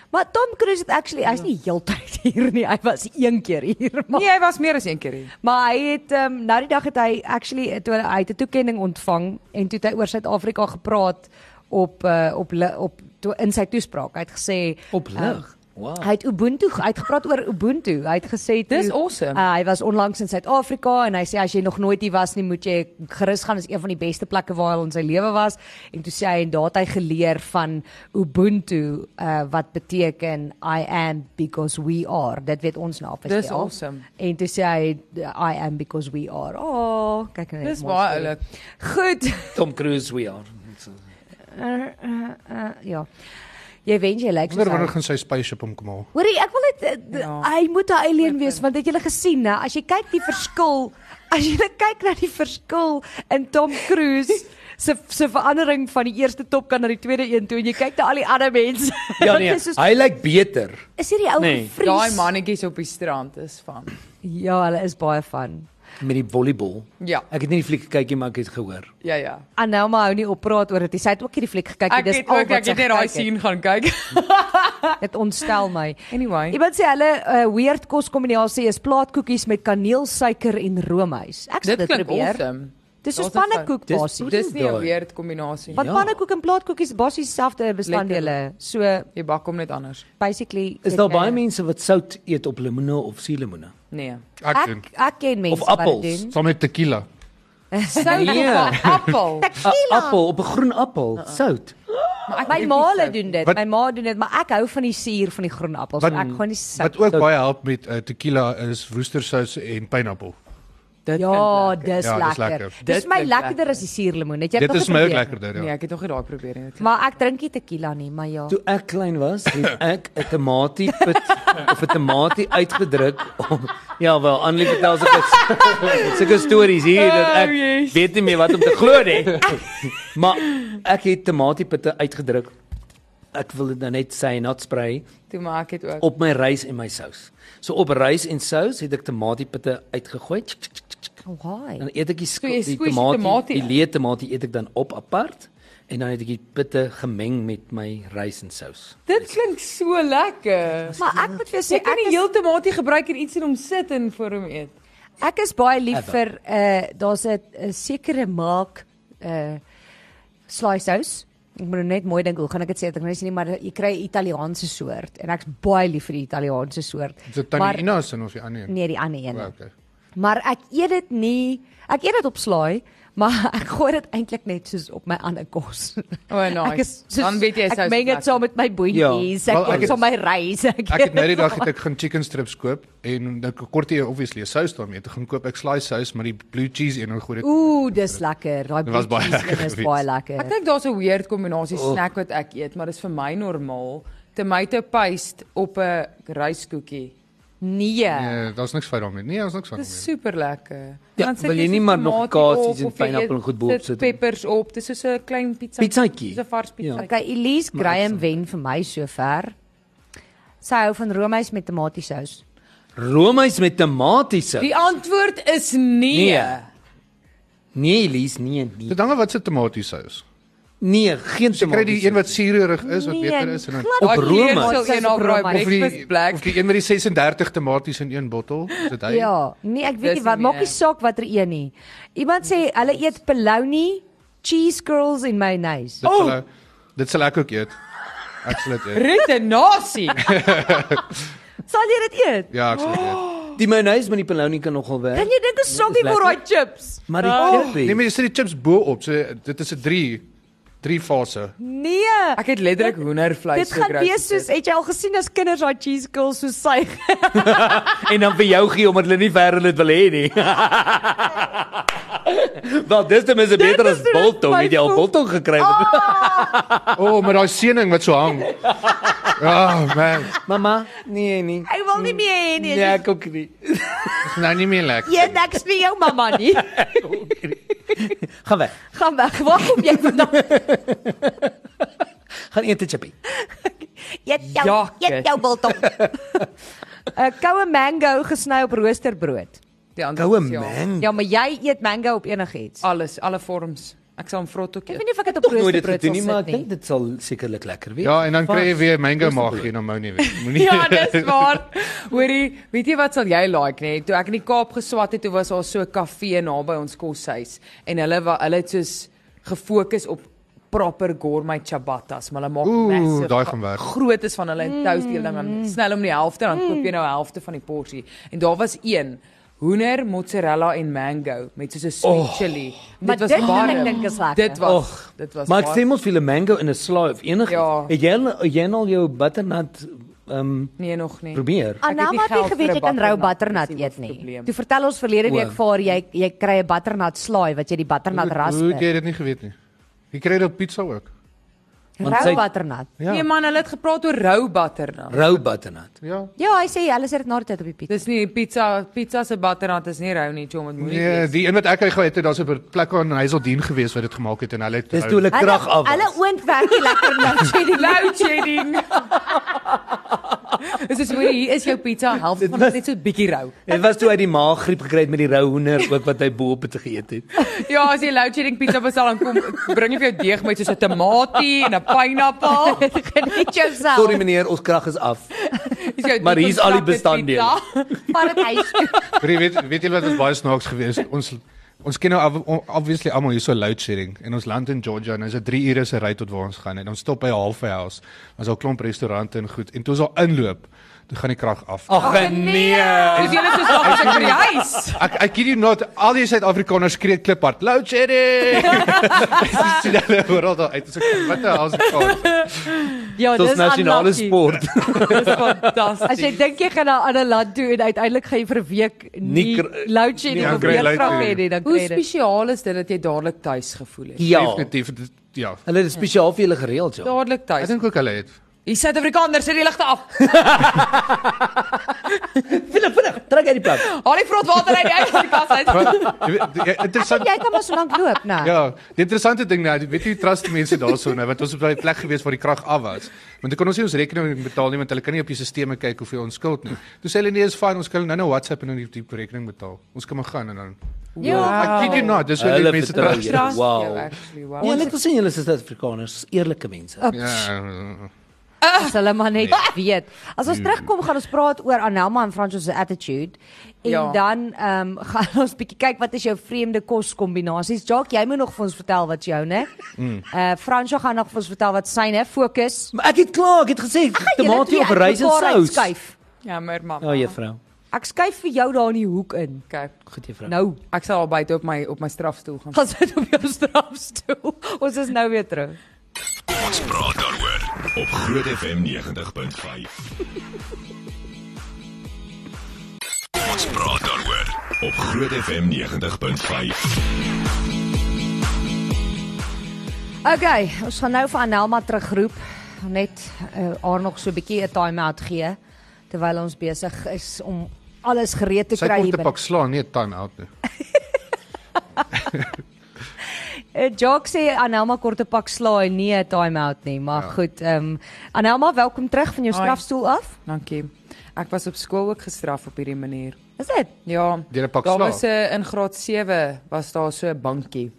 Speaker 1: Maar Tom Cruise het actually, hy's
Speaker 4: Ja.
Speaker 1: nie heeltyd hier nie. Hy was een keer hier, maar
Speaker 3: Nee, hy was meer as een keer hier.
Speaker 1: maar hy het um, nou die dag het hy actually toe hy hy het 'n toekenning ontvang en toe het hy oor Suid-Afrika gepraat op uh, op li- op toe, in sy toespraak. Hy het gesê
Speaker 4: op
Speaker 1: um,
Speaker 3: Ah.
Speaker 4: lig. Wow.
Speaker 1: Hy het Ubuntu, ge- hy het gepraat oor Ubuntu. Hy het gesê toe,
Speaker 3: Dis awesome.
Speaker 1: Uh, hy was onlangs in Suid-Afrika en hy sê as jy nog nooit hier was nie, moet jy gerus gaan, is een van die beste plekke waar hy in sy lewe was. En toe sê hy en daar het hy geleer van Ubuntu uh, wat beteken I am because we are. Dit weet ons nou af.
Speaker 3: Dis awesome.
Speaker 1: En toe sê hy I am because we are. Oh, kyk net.
Speaker 3: Dis
Speaker 1: mooi
Speaker 3: baie
Speaker 1: storie.
Speaker 3: oulik.
Speaker 1: Goed.
Speaker 4: Tom Cruise we are.
Speaker 1: Uh, uh, uh, ja. Jy wens jy lyk
Speaker 2: Wonder
Speaker 1: soos hy.
Speaker 2: wanneer gaan sy spaceship omkom haal.
Speaker 1: Hoorie, ek wil net eh,
Speaker 3: Ja.
Speaker 1: hy moet 'n alien wees want het julle gesien hè, as jy kyk die verskil, as jy net kyk na die verskil in Tom Cruise se se verandering van die eerste top kan na die tweede een toe en jy kyk na al die ander mense.
Speaker 4: Ja
Speaker 1: dan
Speaker 4: nee,
Speaker 1: is soos,
Speaker 4: hy lyk beter.
Speaker 1: is hierdie ou
Speaker 4: Nee.
Speaker 1: gevries?
Speaker 3: Daai mannetjies op die strand is van.
Speaker 1: Ja, hulle is baie van.
Speaker 4: met die volleybal.
Speaker 3: Ja.
Speaker 4: Ek het nie die fliek gekyk nie, maar ek het gehoor.
Speaker 3: Ja ja.
Speaker 1: Anelma hou nie op praat oor dit. nie. Sy het ook hierdie fliek gekyk. nie,
Speaker 3: Ek
Speaker 1: Dis
Speaker 3: het
Speaker 1: al
Speaker 3: ook
Speaker 1: wat
Speaker 3: ek
Speaker 1: sy
Speaker 3: het net daai
Speaker 1: gekyk
Speaker 3: sien gaan kyk.
Speaker 1: Dit ontstel my.
Speaker 3: Anyway,
Speaker 1: Iemand sê hulle uh, weird kos kombinasie is plaatkoekies met kaneelsuiker en roomys. Ek sal
Speaker 3: dit
Speaker 1: dit,
Speaker 3: klink
Speaker 1: probeer.
Speaker 3: awesome.
Speaker 1: Dis soos
Speaker 3: Daar's 'n fout.
Speaker 1: pannekoek
Speaker 4: Dis-
Speaker 1: basies.
Speaker 3: Dis nie 'n
Speaker 4: Daai.
Speaker 3: weird kombinasie.
Speaker 1: Want
Speaker 4: Ja.
Speaker 1: pannekoek en plaatkoekies basies dieselfde bestanddele. So
Speaker 3: Jy bak hom net anders.
Speaker 1: basically
Speaker 4: Is daar baie mense wat sout eet op lemoene of suurlemoene?
Speaker 3: Nee.
Speaker 2: Ek doen.
Speaker 1: Ek ek ken mense
Speaker 4: Of
Speaker 1: wat dit
Speaker 4: appels.
Speaker 1: doen.
Speaker 2: Saam met tequila.
Speaker 3: Sou jy appel?
Speaker 4: 'n Appel op 'n groen appel,
Speaker 3: Uh-uh.
Speaker 4: sout.
Speaker 3: Maar ek
Speaker 1: My
Speaker 3: drink nie
Speaker 1: ma hulle
Speaker 3: sout
Speaker 1: doen
Speaker 3: nie.
Speaker 1: dit.
Speaker 2: Wat-
Speaker 1: My ma doen dit, maar ek hou van die suur van die groen appels.
Speaker 2: Wat-
Speaker 1: Wat, ek gaan nie sout.
Speaker 2: eh, Wat ook baie help met uh, tequila is woestersous en pineappel.
Speaker 3: Dit
Speaker 1: Ja,
Speaker 3: klink lekker.
Speaker 1: dis
Speaker 2: Ja, dis
Speaker 1: lekker.
Speaker 2: lekker.
Speaker 1: Dis
Speaker 3: Dit
Speaker 1: my
Speaker 3: klink
Speaker 1: lekkerder
Speaker 3: lekker.
Speaker 1: as die suurlemoen.
Speaker 3: Ja,
Speaker 1: Het jy dit
Speaker 2: Dit
Speaker 1: al
Speaker 2: is my ook
Speaker 1: geprobeer?
Speaker 2: lekkerder,
Speaker 3: Nee,
Speaker 2: ja.
Speaker 3: ek het nog nie daai probeer nie. dit klink-
Speaker 1: Maar ek drink nie tequila nie, maar ja.
Speaker 4: Toe ek klein was, het ek 'n tamatie pit of 'n tamatie uitgedruk. Om, ja, wel, Annelie vertel sulke sulke stories hier dat ek
Speaker 3: Oh, yes.
Speaker 4: weet nie meer wat om te glo nie. Maar ek het tamatiepitte uitgedruk. Ek wil dit nou net sê, not spray
Speaker 3: Toe maak ek dit ook.
Speaker 4: op my rys en my sous. So op rys en sous het ek tamatiepitte uitgegooi. Tsk, tsk, tsk, tsk.
Speaker 1: Why?
Speaker 4: Dan eet ek die,
Speaker 3: So jy
Speaker 4: sk- die
Speaker 3: squeeze die
Speaker 4: tamatie,
Speaker 3: tamatie
Speaker 4: die
Speaker 3: in.
Speaker 4: leë tamatie eet ek dan op apart en dan het ek die pitte gemeng met my rys en sous.
Speaker 3: Dit klink so lekker.
Speaker 1: Maar ek moet vir jou sê
Speaker 3: Jy kan
Speaker 1: ek
Speaker 3: nie
Speaker 1: is
Speaker 3: heel tamatie gebruik en iets in hom sit en vir hom eet.
Speaker 1: Ek is baie lief
Speaker 4: Ever.
Speaker 1: vir uh daar's 'n 'n sekere maak uh slice house. Ek moet nou net mooi dink hoe gaan ek dit sê? Ek kan nou nie sê nie, maar jy kry 'n Italiaanse soort en ek's baie lief vir die Italiaanse soort.
Speaker 2: Dis tannie Ina se of die ander een. Oh,
Speaker 1: nee, die ander een.
Speaker 2: O, okay.
Speaker 1: Maar ek eet dit nie. Ek eet dit op slaai, maar ek gooi dit eintlik net soos op my ander kos.
Speaker 3: O, oh, nice.
Speaker 1: Ek is soos,
Speaker 3: dan weet jy
Speaker 1: ek meng dit saam met my boontjies,
Speaker 2: Ja.
Speaker 1: ja. ek
Speaker 2: Wel, ek
Speaker 1: kook
Speaker 2: het-
Speaker 1: saam my rys.
Speaker 2: Ek het nou die dag het ek gaan chicken strips koop en dan kort hier obviously 'n sous daarmee. Toe gaan koop ek slice sous met die blue cheese en dan gooi dit.
Speaker 1: Ooh, dis lekker. Daai
Speaker 2: Dit was baie
Speaker 1: boontjies een
Speaker 2: lekker
Speaker 1: is
Speaker 2: geweest.
Speaker 1: baie lekker.
Speaker 3: Ek dink daar's 'n weird kombinasie
Speaker 4: Oh.
Speaker 3: snack wat ek eet, maar dis vir my normaal. Tomato paste op 'n ryskoekie.
Speaker 1: Nee.
Speaker 2: Nee, daar's niks fout daarmee. Nee, daar's niks fout
Speaker 3: Dis
Speaker 2: daarmee.
Speaker 3: super lekker.
Speaker 4: Ja,
Speaker 3: Dan sit
Speaker 4: wil jy
Speaker 3: so
Speaker 4: nie maar nog
Speaker 3: tomatie
Speaker 4: kasies en
Speaker 3: op, of jy
Speaker 4: pineappel en
Speaker 3: eet-
Speaker 4: goed boop sit?
Speaker 3: Sit peppers op. Dis soos 'n klein pizza.
Speaker 4: Pizzaatjie.
Speaker 3: Dis 'n vars pizza.
Speaker 4: Ja.
Speaker 1: Okay, Elise Graham wen vir my sover. Sy hou van roomys met tomatiesous.
Speaker 4: Roomys met tamatiese.
Speaker 3: Die antwoord is nee.
Speaker 4: Nee. Nee, Elise, nee, nee.
Speaker 2: Dit hang af wat se tomatiesous.
Speaker 4: Nee, geen
Speaker 2: Jy kry die een wat
Speaker 4: tomatiesous.
Speaker 2: suurig is wat
Speaker 1: Nee,
Speaker 2: beter is en dan
Speaker 1: glad
Speaker 4: Op
Speaker 3: Daai
Speaker 4: roomys.
Speaker 3: kleer sou een op braai
Speaker 1: Of
Speaker 2: of die
Speaker 3: breakfast black.
Speaker 2: of die een met die 36 tomaties in een bottel, is dit hy?
Speaker 1: Ja, nee, ek weet
Speaker 3: Dis
Speaker 1: nie wat
Speaker 3: nie
Speaker 1: maak nie
Speaker 3: ek.
Speaker 1: saak watter een nie. Iemand sê hulle eet bologna, cheese curls en mayonnaise.
Speaker 2: Dit sal
Speaker 3: Oh.
Speaker 2: dit sal ek ook eet. Ek sal dit eet.
Speaker 3: Retenasie.
Speaker 1: Sal jy dit eet?
Speaker 2: Ja, ek sal dit eet.
Speaker 4: Die mayonnaise met die bologna kan nogal werk.
Speaker 1: Kan jy dink is soggy
Speaker 4: lekker.
Speaker 1: vir daai chips?
Speaker 4: Maar die
Speaker 2: Nee,
Speaker 4: chippy.
Speaker 2: maar jy sit die chips bo op. So dit is 'n 3 3 fase.
Speaker 1: Nee.
Speaker 3: Ek het letterlik
Speaker 1: Dit-
Speaker 3: hoendervleis
Speaker 1: Dit gaan
Speaker 3: gekry.
Speaker 1: wees soos het jy al gesien as kinders daai cheese curls so suig.
Speaker 4: En dan vir jou gee omdat hulle nie verder dit wil hê nie. Wel, dis ten minste beter
Speaker 1: is
Speaker 4: as
Speaker 1: hoe dit
Speaker 4: biltong.
Speaker 1: my
Speaker 4: Het jy al
Speaker 1: voel.
Speaker 4: biltong gekry? Oh.
Speaker 2: O, oh, met daai seëning wat so hang. Ja, oh, man.
Speaker 4: Mamma, nee nee.
Speaker 1: Ek wil nie meer hê nie.
Speaker 4: Nee, ek ook nie.
Speaker 2: Dis nou nie meer lekker.
Speaker 1: Jy niks vir jou mamma nie.
Speaker 4: Gaan weg.
Speaker 1: Gaan weg. Waar kom jy vandaan?
Speaker 4: Gaan eet 'n chippy.
Speaker 1: Eet jou,
Speaker 3: Ja,
Speaker 1: eet jou biltong. 'n Eh, Koue mango gesny op roosterbrood.
Speaker 3: Die
Speaker 4: Goue
Speaker 3: antwoord is ja.
Speaker 4: man.
Speaker 1: Ja, maar jy eet mango op enigiets.
Speaker 3: Alles, alle vorms. Ek sal hom vrot ook
Speaker 1: Ek
Speaker 3: eet.
Speaker 1: weet nie of Ah, ek dit op
Speaker 4: Nooit dit
Speaker 1: roosterbrood sal
Speaker 4: gedoen nie, maar
Speaker 1: sit
Speaker 4: ek dink
Speaker 1: nie.
Speaker 4: dit sal sekerlik lekker wees.
Speaker 2: Ja, en dan kry jy
Speaker 4: Vars.
Speaker 2: weer mango maag en dan mou nie weer. Moenie.
Speaker 3: Ja, dis waar. Hoorie, weet jy wat sal jy like nê? Toe ek in die Kaap geswat het, toe was daar so 'n kafee naby ons koshuis en hulle wa- hulle het soos gefokus op proper gourmet ciabattas, maar hulle maak
Speaker 2: Ooh,
Speaker 3: massive
Speaker 2: daai
Speaker 3: ga-
Speaker 2: gaan werk.
Speaker 3: Grootes van hulle in toast deel dan dan snel om die helfte dan koop jy nou helfte van die porsie. En daar was een hoender, mozzarella en mango met so 'n sweet
Speaker 4: Oh.
Speaker 3: chili. Dit
Speaker 1: Maar
Speaker 3: was
Speaker 1: dit kan
Speaker 3: warm.
Speaker 1: ek dink is lekker.
Speaker 3: Dit was
Speaker 4: Och,
Speaker 3: dit was
Speaker 4: Maar ek
Speaker 3: warm.
Speaker 4: sê mos vir 'n mango in 'n slaai of enigiets.
Speaker 3: Ja.
Speaker 4: Het jy al, het jy al jou butternut ehm um,
Speaker 3: nee nog nie.
Speaker 4: probeer?
Speaker 3: het nie
Speaker 1: Anna het nie
Speaker 3: geld vir
Speaker 1: geweet jy
Speaker 3: 'n
Speaker 1: kan rou
Speaker 3: butternut,
Speaker 1: butternut
Speaker 3: dis die
Speaker 1: eet nie.
Speaker 3: hoofprobleem.
Speaker 1: Toe vertel ons verlede week
Speaker 4: O.
Speaker 1: vir haar jy jy kry 'n butternut slaai wat jy die butternut
Speaker 2: Hoe het
Speaker 1: rasp.
Speaker 2: jy dit nie geweet nie? Jy kry dit op pizza ook.
Speaker 4: Want
Speaker 1: Rou
Speaker 4: sy-
Speaker 1: butternut.
Speaker 2: Ja.
Speaker 3: Nee man, hulle het gepraat oor rou butter nou.
Speaker 4: Rou butternut.
Speaker 2: Ja.
Speaker 1: Ja, hy sê hulle sit dit na die tyd op die pizza.
Speaker 3: Dis nie pizza pizza se butternut is nie rou nie, chom, dit moet nie.
Speaker 2: Nee,
Speaker 3: wees.
Speaker 2: die een wat ek gehou het, daar's 'n plek aan Hazeldien gewees wat dit gemaak het en hulle het
Speaker 4: Dis toe hulle
Speaker 1: Hulle
Speaker 4: krag af. was.
Speaker 1: hulle oond werk nie lekker nou sê die
Speaker 3: Load shedding. Dis is hoe hier is jou pizza helfte van dit net so 'n bietjie rou.
Speaker 4: Dit was toe hy die maaggriep gekry het met die rou hoender ook wat hy bo op dit geëet het.
Speaker 3: Ja, as jy load shedding pizza bestel dan kom bring jy vir jou deeg met so 'n tamatie en 'n pineappel.
Speaker 1: geniet jouself.
Speaker 4: Sorry meneer, ons krag is af.
Speaker 3: Dis jou
Speaker 4: Maar hier's al die
Speaker 3: diep ontsnapte
Speaker 4: bestanddele.
Speaker 3: pizza.
Speaker 1: Vat dit huis toe.
Speaker 2: Weet weet julle wat was baie snaaks geweest? Ons Ons ken nou ob- obviously almal hierso load shedding en ons land in Georgia en is dit 3 ure se ry tot waar ons gaan en ons stop by Halfway House. Ons al klomp restaurante en goed en toe ons al inloop, toe gaan die krag af.
Speaker 1: Ag, nee.
Speaker 3: Dis julle soos nog as ek vir die huis.
Speaker 2: Ek ek kid you not, al die Suid-Afrikaners skree kliphard, load shedding. Dis sien hulle oral daar uit. Ons ek wat die hel se kans.
Speaker 1: Ja,
Speaker 4: Dit is
Speaker 1: dis
Speaker 4: nasionale sport.
Speaker 3: Dis fantasties.
Speaker 1: As jy dink jy gaan na 'n ander land toe en uiteindelik gaan jy vir 'n week
Speaker 4: Nie
Speaker 1: nie
Speaker 4: kr-
Speaker 1: load shedding
Speaker 2: nie
Speaker 1: of
Speaker 2: kry load
Speaker 1: weerkrag hê
Speaker 2: shedding.
Speaker 1: nie, dan
Speaker 3: Hoe
Speaker 1: kry jy dit.
Speaker 3: spesiaal is dit dat jy dadelik tuis gevoel het?
Speaker 4: Ja.
Speaker 2: Definitief dit- ja.
Speaker 4: Hulle het dit spesiaal vir julle gereël, ja.
Speaker 3: Dadelik
Speaker 2: Ek
Speaker 3: tuis.
Speaker 2: dink ook hulle het.
Speaker 3: Hier Suid-Afrikaners, sit die ligte af.
Speaker 4: Vinnig, vinnig, trek uit die plek.
Speaker 3: Haal die vrotwater uit die uit die kas uit.
Speaker 2: Maar jy weet, die interessant
Speaker 1: Jy kan maar so lank loop, nou. né?
Speaker 2: Ja, die interessante ding nou, weet jy, trust die mense daarso nou, want ons was by 'n plek gewees waar die krag af was. Want ek kon ons nie ons rekening betaal nie, want hulle kan nie op die stelsels kyk hoeveel ons skuld nie. Toe sê hulle nee, is fyn, ons kan nou nou WhatsApp en dan die tipe rekening betaal. Ons kan maar gaan en dan.
Speaker 1: Ja.
Speaker 2: Ek kid you not, dis hoe die
Speaker 4: Hulle
Speaker 2: mense
Speaker 4: vertrou
Speaker 2: trust.
Speaker 4: jou.
Speaker 2: Ja.
Speaker 3: Trust
Speaker 4: Wow.
Speaker 3: you, actually, wow.
Speaker 1: nee.
Speaker 4: Ja, net gesien julle is Suid-Afrikaners, eerlike mense.
Speaker 2: ja.
Speaker 1: As hulle maar net
Speaker 4: Nee.
Speaker 1: weet. As ons terugkom gaan ons praat oor Anelma en Francois se attitude en ja.
Speaker 3: Ja.
Speaker 1: dan ehm um, gaan ons bietjie kyk wat is jou vreemde kos kombinasies. Jock, jy moet nog vir ons vertel wat joune. Mm. Uh Francois gaan nog vir ons vertel wat syne fokus.
Speaker 4: Maar ek het klaar, ek het gesê tomatie op rys en sous.
Speaker 3: Jammer, mamma.
Speaker 4: Ja, juffrou.
Speaker 1: Ek skuif vir jou daar in die hoek in.
Speaker 3: Okay.
Speaker 4: Goed juffrou.
Speaker 1: Nou,
Speaker 3: Ek sal al buite op my op my strafstoel gaan.
Speaker 1: gaan sit op jou strafstoel. ons is nou weer terug.
Speaker 5: Ons praat daaroor op Groot FM 90.5. Ons praat daaroor op Groot FM 90.5.
Speaker 1: Okay, ons gaan nou vir Anelma terugroep. Net uh, haar nog so 'n bietjie 'n time-out gee terwyl ons besig is om alles gereed te
Speaker 2: Sy
Speaker 1: kry
Speaker 2: kon te
Speaker 1: hier.
Speaker 2: pak slaan, nee, time out nie.
Speaker 1: Uh, Jock sê Anelma korte pak slaai, nie 'n time-out nie, maar ja. goed. Ehm um, Anelma, welkom terug van jou
Speaker 3: Hoi.
Speaker 1: strafstoel af.
Speaker 3: Dankie. Ek was op skool ook gestraf op hierdie manier.
Speaker 1: Is dit?
Speaker 3: Ja.
Speaker 2: Deur 'n pak
Speaker 3: daar
Speaker 2: slaag?
Speaker 3: was 'n in graad 7 was daar so 'n bankie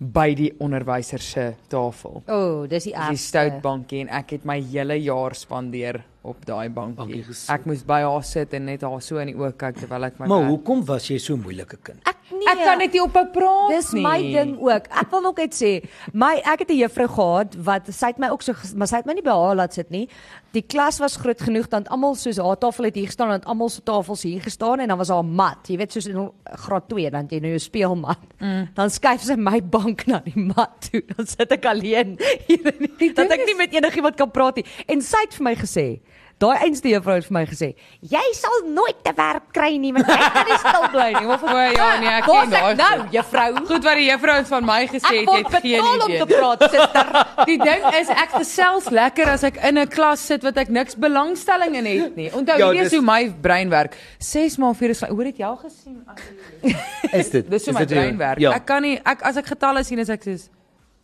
Speaker 3: by die onderwyser se tafel.
Speaker 1: O, oh, dis die
Speaker 3: Dis 'n
Speaker 1: ergste.
Speaker 3: stout bankie en ek het my hele jaar spandeer op daai bankie.
Speaker 4: Bankie gesit.
Speaker 3: Ek moes by haar sit en net haar so in die oë kyk terwyl ek my
Speaker 4: Maar
Speaker 3: werk-
Speaker 4: hoekom was jy so 'n moeilike kind?
Speaker 1: Ek nee.
Speaker 3: Ek kan net nie op haar praat
Speaker 1: Dis
Speaker 3: nie.
Speaker 1: my ding ook. Ek wil ook net sê, my ek het 'n juffrou gehad wat sy het my ook so ges- maar sy het my nie by haar laat sit nie. Die klas was groot genoeg dat almal soos haar tafel het hier gestaan en almal se tafels hier gestaan en dan was haar mat. Jy weet soos in graad 2 dan het jy nou jou speelmat. Mm. Dan skuif sy my bank na die mat toe. Dan sit ek alleen hier in die dat ek nie met enigiemand kan praat nie. En sy het vir my gesê Daai einste juffrou het vir my gesê, "Jy sal nooit te werk kry nie, want jy kan nie stil bly nie." Maar vir
Speaker 3: O ja, nee, ek
Speaker 1: Waar's
Speaker 3: ken daai
Speaker 1: Nou,
Speaker 3: goed.
Speaker 1: juffrou,
Speaker 3: Goed wat die juffrou ons van my gesê het, jy het geen idee.
Speaker 1: praat, suster.
Speaker 3: Die ding is ek gesels lekker as ek in 'n klas sit wat ek niks belangstelling in het nie. Onthou,
Speaker 4: Ja,
Speaker 3: hierdie is
Speaker 4: dis-
Speaker 3: hoe my brein werk. 6 maal 4 is hoor ek jou gesien as
Speaker 4: Is dit?
Speaker 3: dis hoe my
Speaker 4: dit jou-
Speaker 3: brein werk.
Speaker 4: Ja.
Speaker 3: Ek kan nie ek as ek getalle sien is ek soos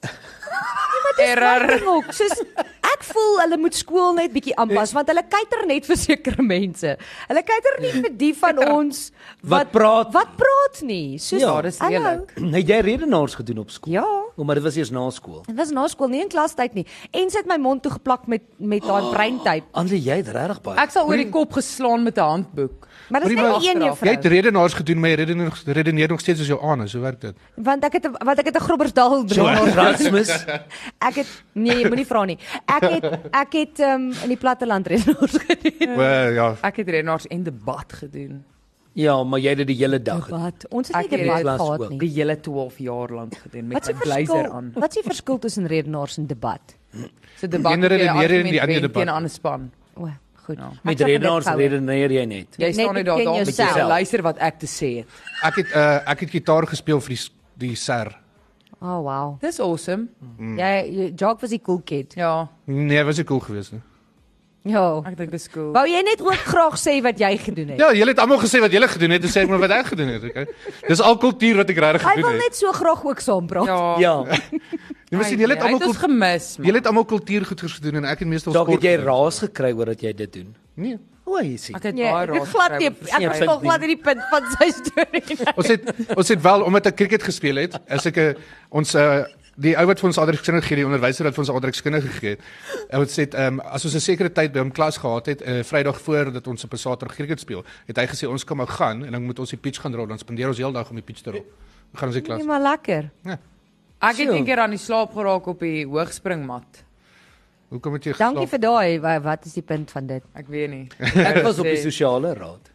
Speaker 1: Ja, Error.
Speaker 3: Error.
Speaker 1: Ook, soos ek voel hulle moet skool net bietjie aanpas want hulle kyker net vir sekere mense. Hulle kyker nie vir die van ons
Speaker 4: Wat praat.
Speaker 1: Wat praat nie. Soos
Speaker 4: Ja,
Speaker 3: dis
Speaker 1: hallo.
Speaker 3: lelik.
Speaker 4: Het jy redenaars gedoen op skool?
Speaker 1: Ja.
Speaker 4: O, maar dit was eers na skool.
Speaker 1: Dit was na skool nie in klastyd nie. En sy het my mond toegeplak met met daai breintyp.
Speaker 4: Andre, jy het regtig baie.
Speaker 3: ek sal oor die kop geslaan met 'n handboek.
Speaker 1: Maar dis
Speaker 2: Prima.
Speaker 1: net een
Speaker 3: Agteraf.
Speaker 2: Jy het
Speaker 1: juffrou.
Speaker 2: redenaars gedoen, maar jy redeneer, redeneer nog steeds soos jou anus, hoe werk dit?
Speaker 1: Want ek het 'n- want ek het 'n Grobbersdal
Speaker 4: Donald
Speaker 3: Ja.
Speaker 1: brein.
Speaker 4: Erasmus.
Speaker 1: Ek het nee, jy moenie vra nie. Ek het ek het um, in die platteland redenaars gedoen.
Speaker 2: Wel ja,
Speaker 3: Ek het redenaars en debat gedoen.
Speaker 4: Ja, maar jy het dit die hele dag. gedoen.
Speaker 1: Wat? Ons het nie
Speaker 3: Ek het
Speaker 1: debat
Speaker 4: klas
Speaker 1: gehad
Speaker 4: ook.
Speaker 1: nie.
Speaker 3: Die hele 12 jaar lank gedoen met
Speaker 1: Wat
Speaker 3: 'n
Speaker 1: is die verskil?
Speaker 3: blazer aan.
Speaker 1: Wat is die verskil tussen redenaars en debat?
Speaker 3: So debat
Speaker 2: Die ene
Speaker 3: het jy
Speaker 2: redeneer en die
Speaker 3: argument
Speaker 2: ander
Speaker 3: wen
Speaker 2: debat.
Speaker 3: teen 'n ander span.
Speaker 1: O, goed.
Speaker 3: Ja.
Speaker 1: Ek
Speaker 4: Met
Speaker 1: sal
Speaker 4: redenaars
Speaker 1: gedip hou.
Speaker 4: redeneer jy net.
Speaker 3: Jy
Speaker 1: Net
Speaker 3: staan net daar
Speaker 1: ken
Speaker 3: daar met
Speaker 1: jouself.
Speaker 3: jouself. Luister wat ek te sê het.
Speaker 2: ek het uh, ek het gitaar gespeel vir die s- die SER.
Speaker 1: Oh wow.
Speaker 3: Dis awesome.
Speaker 4: Hmm.
Speaker 1: Jy jy- Jock was die cool kid.
Speaker 3: Ja,
Speaker 2: Nee, was ek cool geweest nie.
Speaker 1: Ja.
Speaker 3: ek dink dis cool.
Speaker 1: Wou jy net ook graag sê wat jy gedoen het?
Speaker 2: Ja, julle het almal gesê wat julle gedoen het, en sê ek maar wat ek gedoen het, okay? Dis al kultuur wat ek regtig
Speaker 1: Hy
Speaker 2: gedoen
Speaker 1: wil
Speaker 2: het.
Speaker 1: net so graag ook saam praat.
Speaker 3: Ja.
Speaker 4: Ja.
Speaker 2: Jy moet sien julle het
Speaker 3: Hy
Speaker 2: almal Ja.
Speaker 3: ons
Speaker 2: kul-
Speaker 3: gemis.
Speaker 2: julle het almal kultuurgoed gedoen en ek het meestal
Speaker 4: Dalk
Speaker 2: skort.
Speaker 4: het jy
Speaker 2: gedoen.
Speaker 4: raas gekry oor dat jy dit doen.
Speaker 2: Nee.
Speaker 4: O, jy sien.
Speaker 3: Ek het
Speaker 1: Nee,
Speaker 3: baie
Speaker 1: ek
Speaker 3: raad.
Speaker 1: het glad nie ek
Speaker 4: Ja, sy
Speaker 1: verstaan
Speaker 4: doen.
Speaker 1: glad hierdie punt van sy storie. nie.
Speaker 2: Ons het ons het wel omdat ek cricket gespeel het, as ek 'n ons uh, die ou wat vir ons aardrykskundige gee, die onderwyser wat vir ons aardrykskundige gegee het. Hy het sê ehm um, as ons 'n sekere tyd by hom klas gehad het, uh, Vrydag voor dat ons op 'n Saterdag cricket speel, het hy gesê ons kan maar gaan en dan moet ons die pitch gaan rol, dan spandeer ons heeldag om die pitch te rol. gaan ons die klas.
Speaker 1: Nee, maar lekker.
Speaker 3: Ek het
Speaker 4: So.
Speaker 3: eendag aan die slaap geraak op die hoogspringmat.
Speaker 2: Hoekom het jy geslaap?
Speaker 1: Dankie vir daai. wa- Wat is die punt van dit?
Speaker 3: Ek weet nie.
Speaker 4: Ek was op die
Speaker 3: Sê.
Speaker 4: sosiale raad.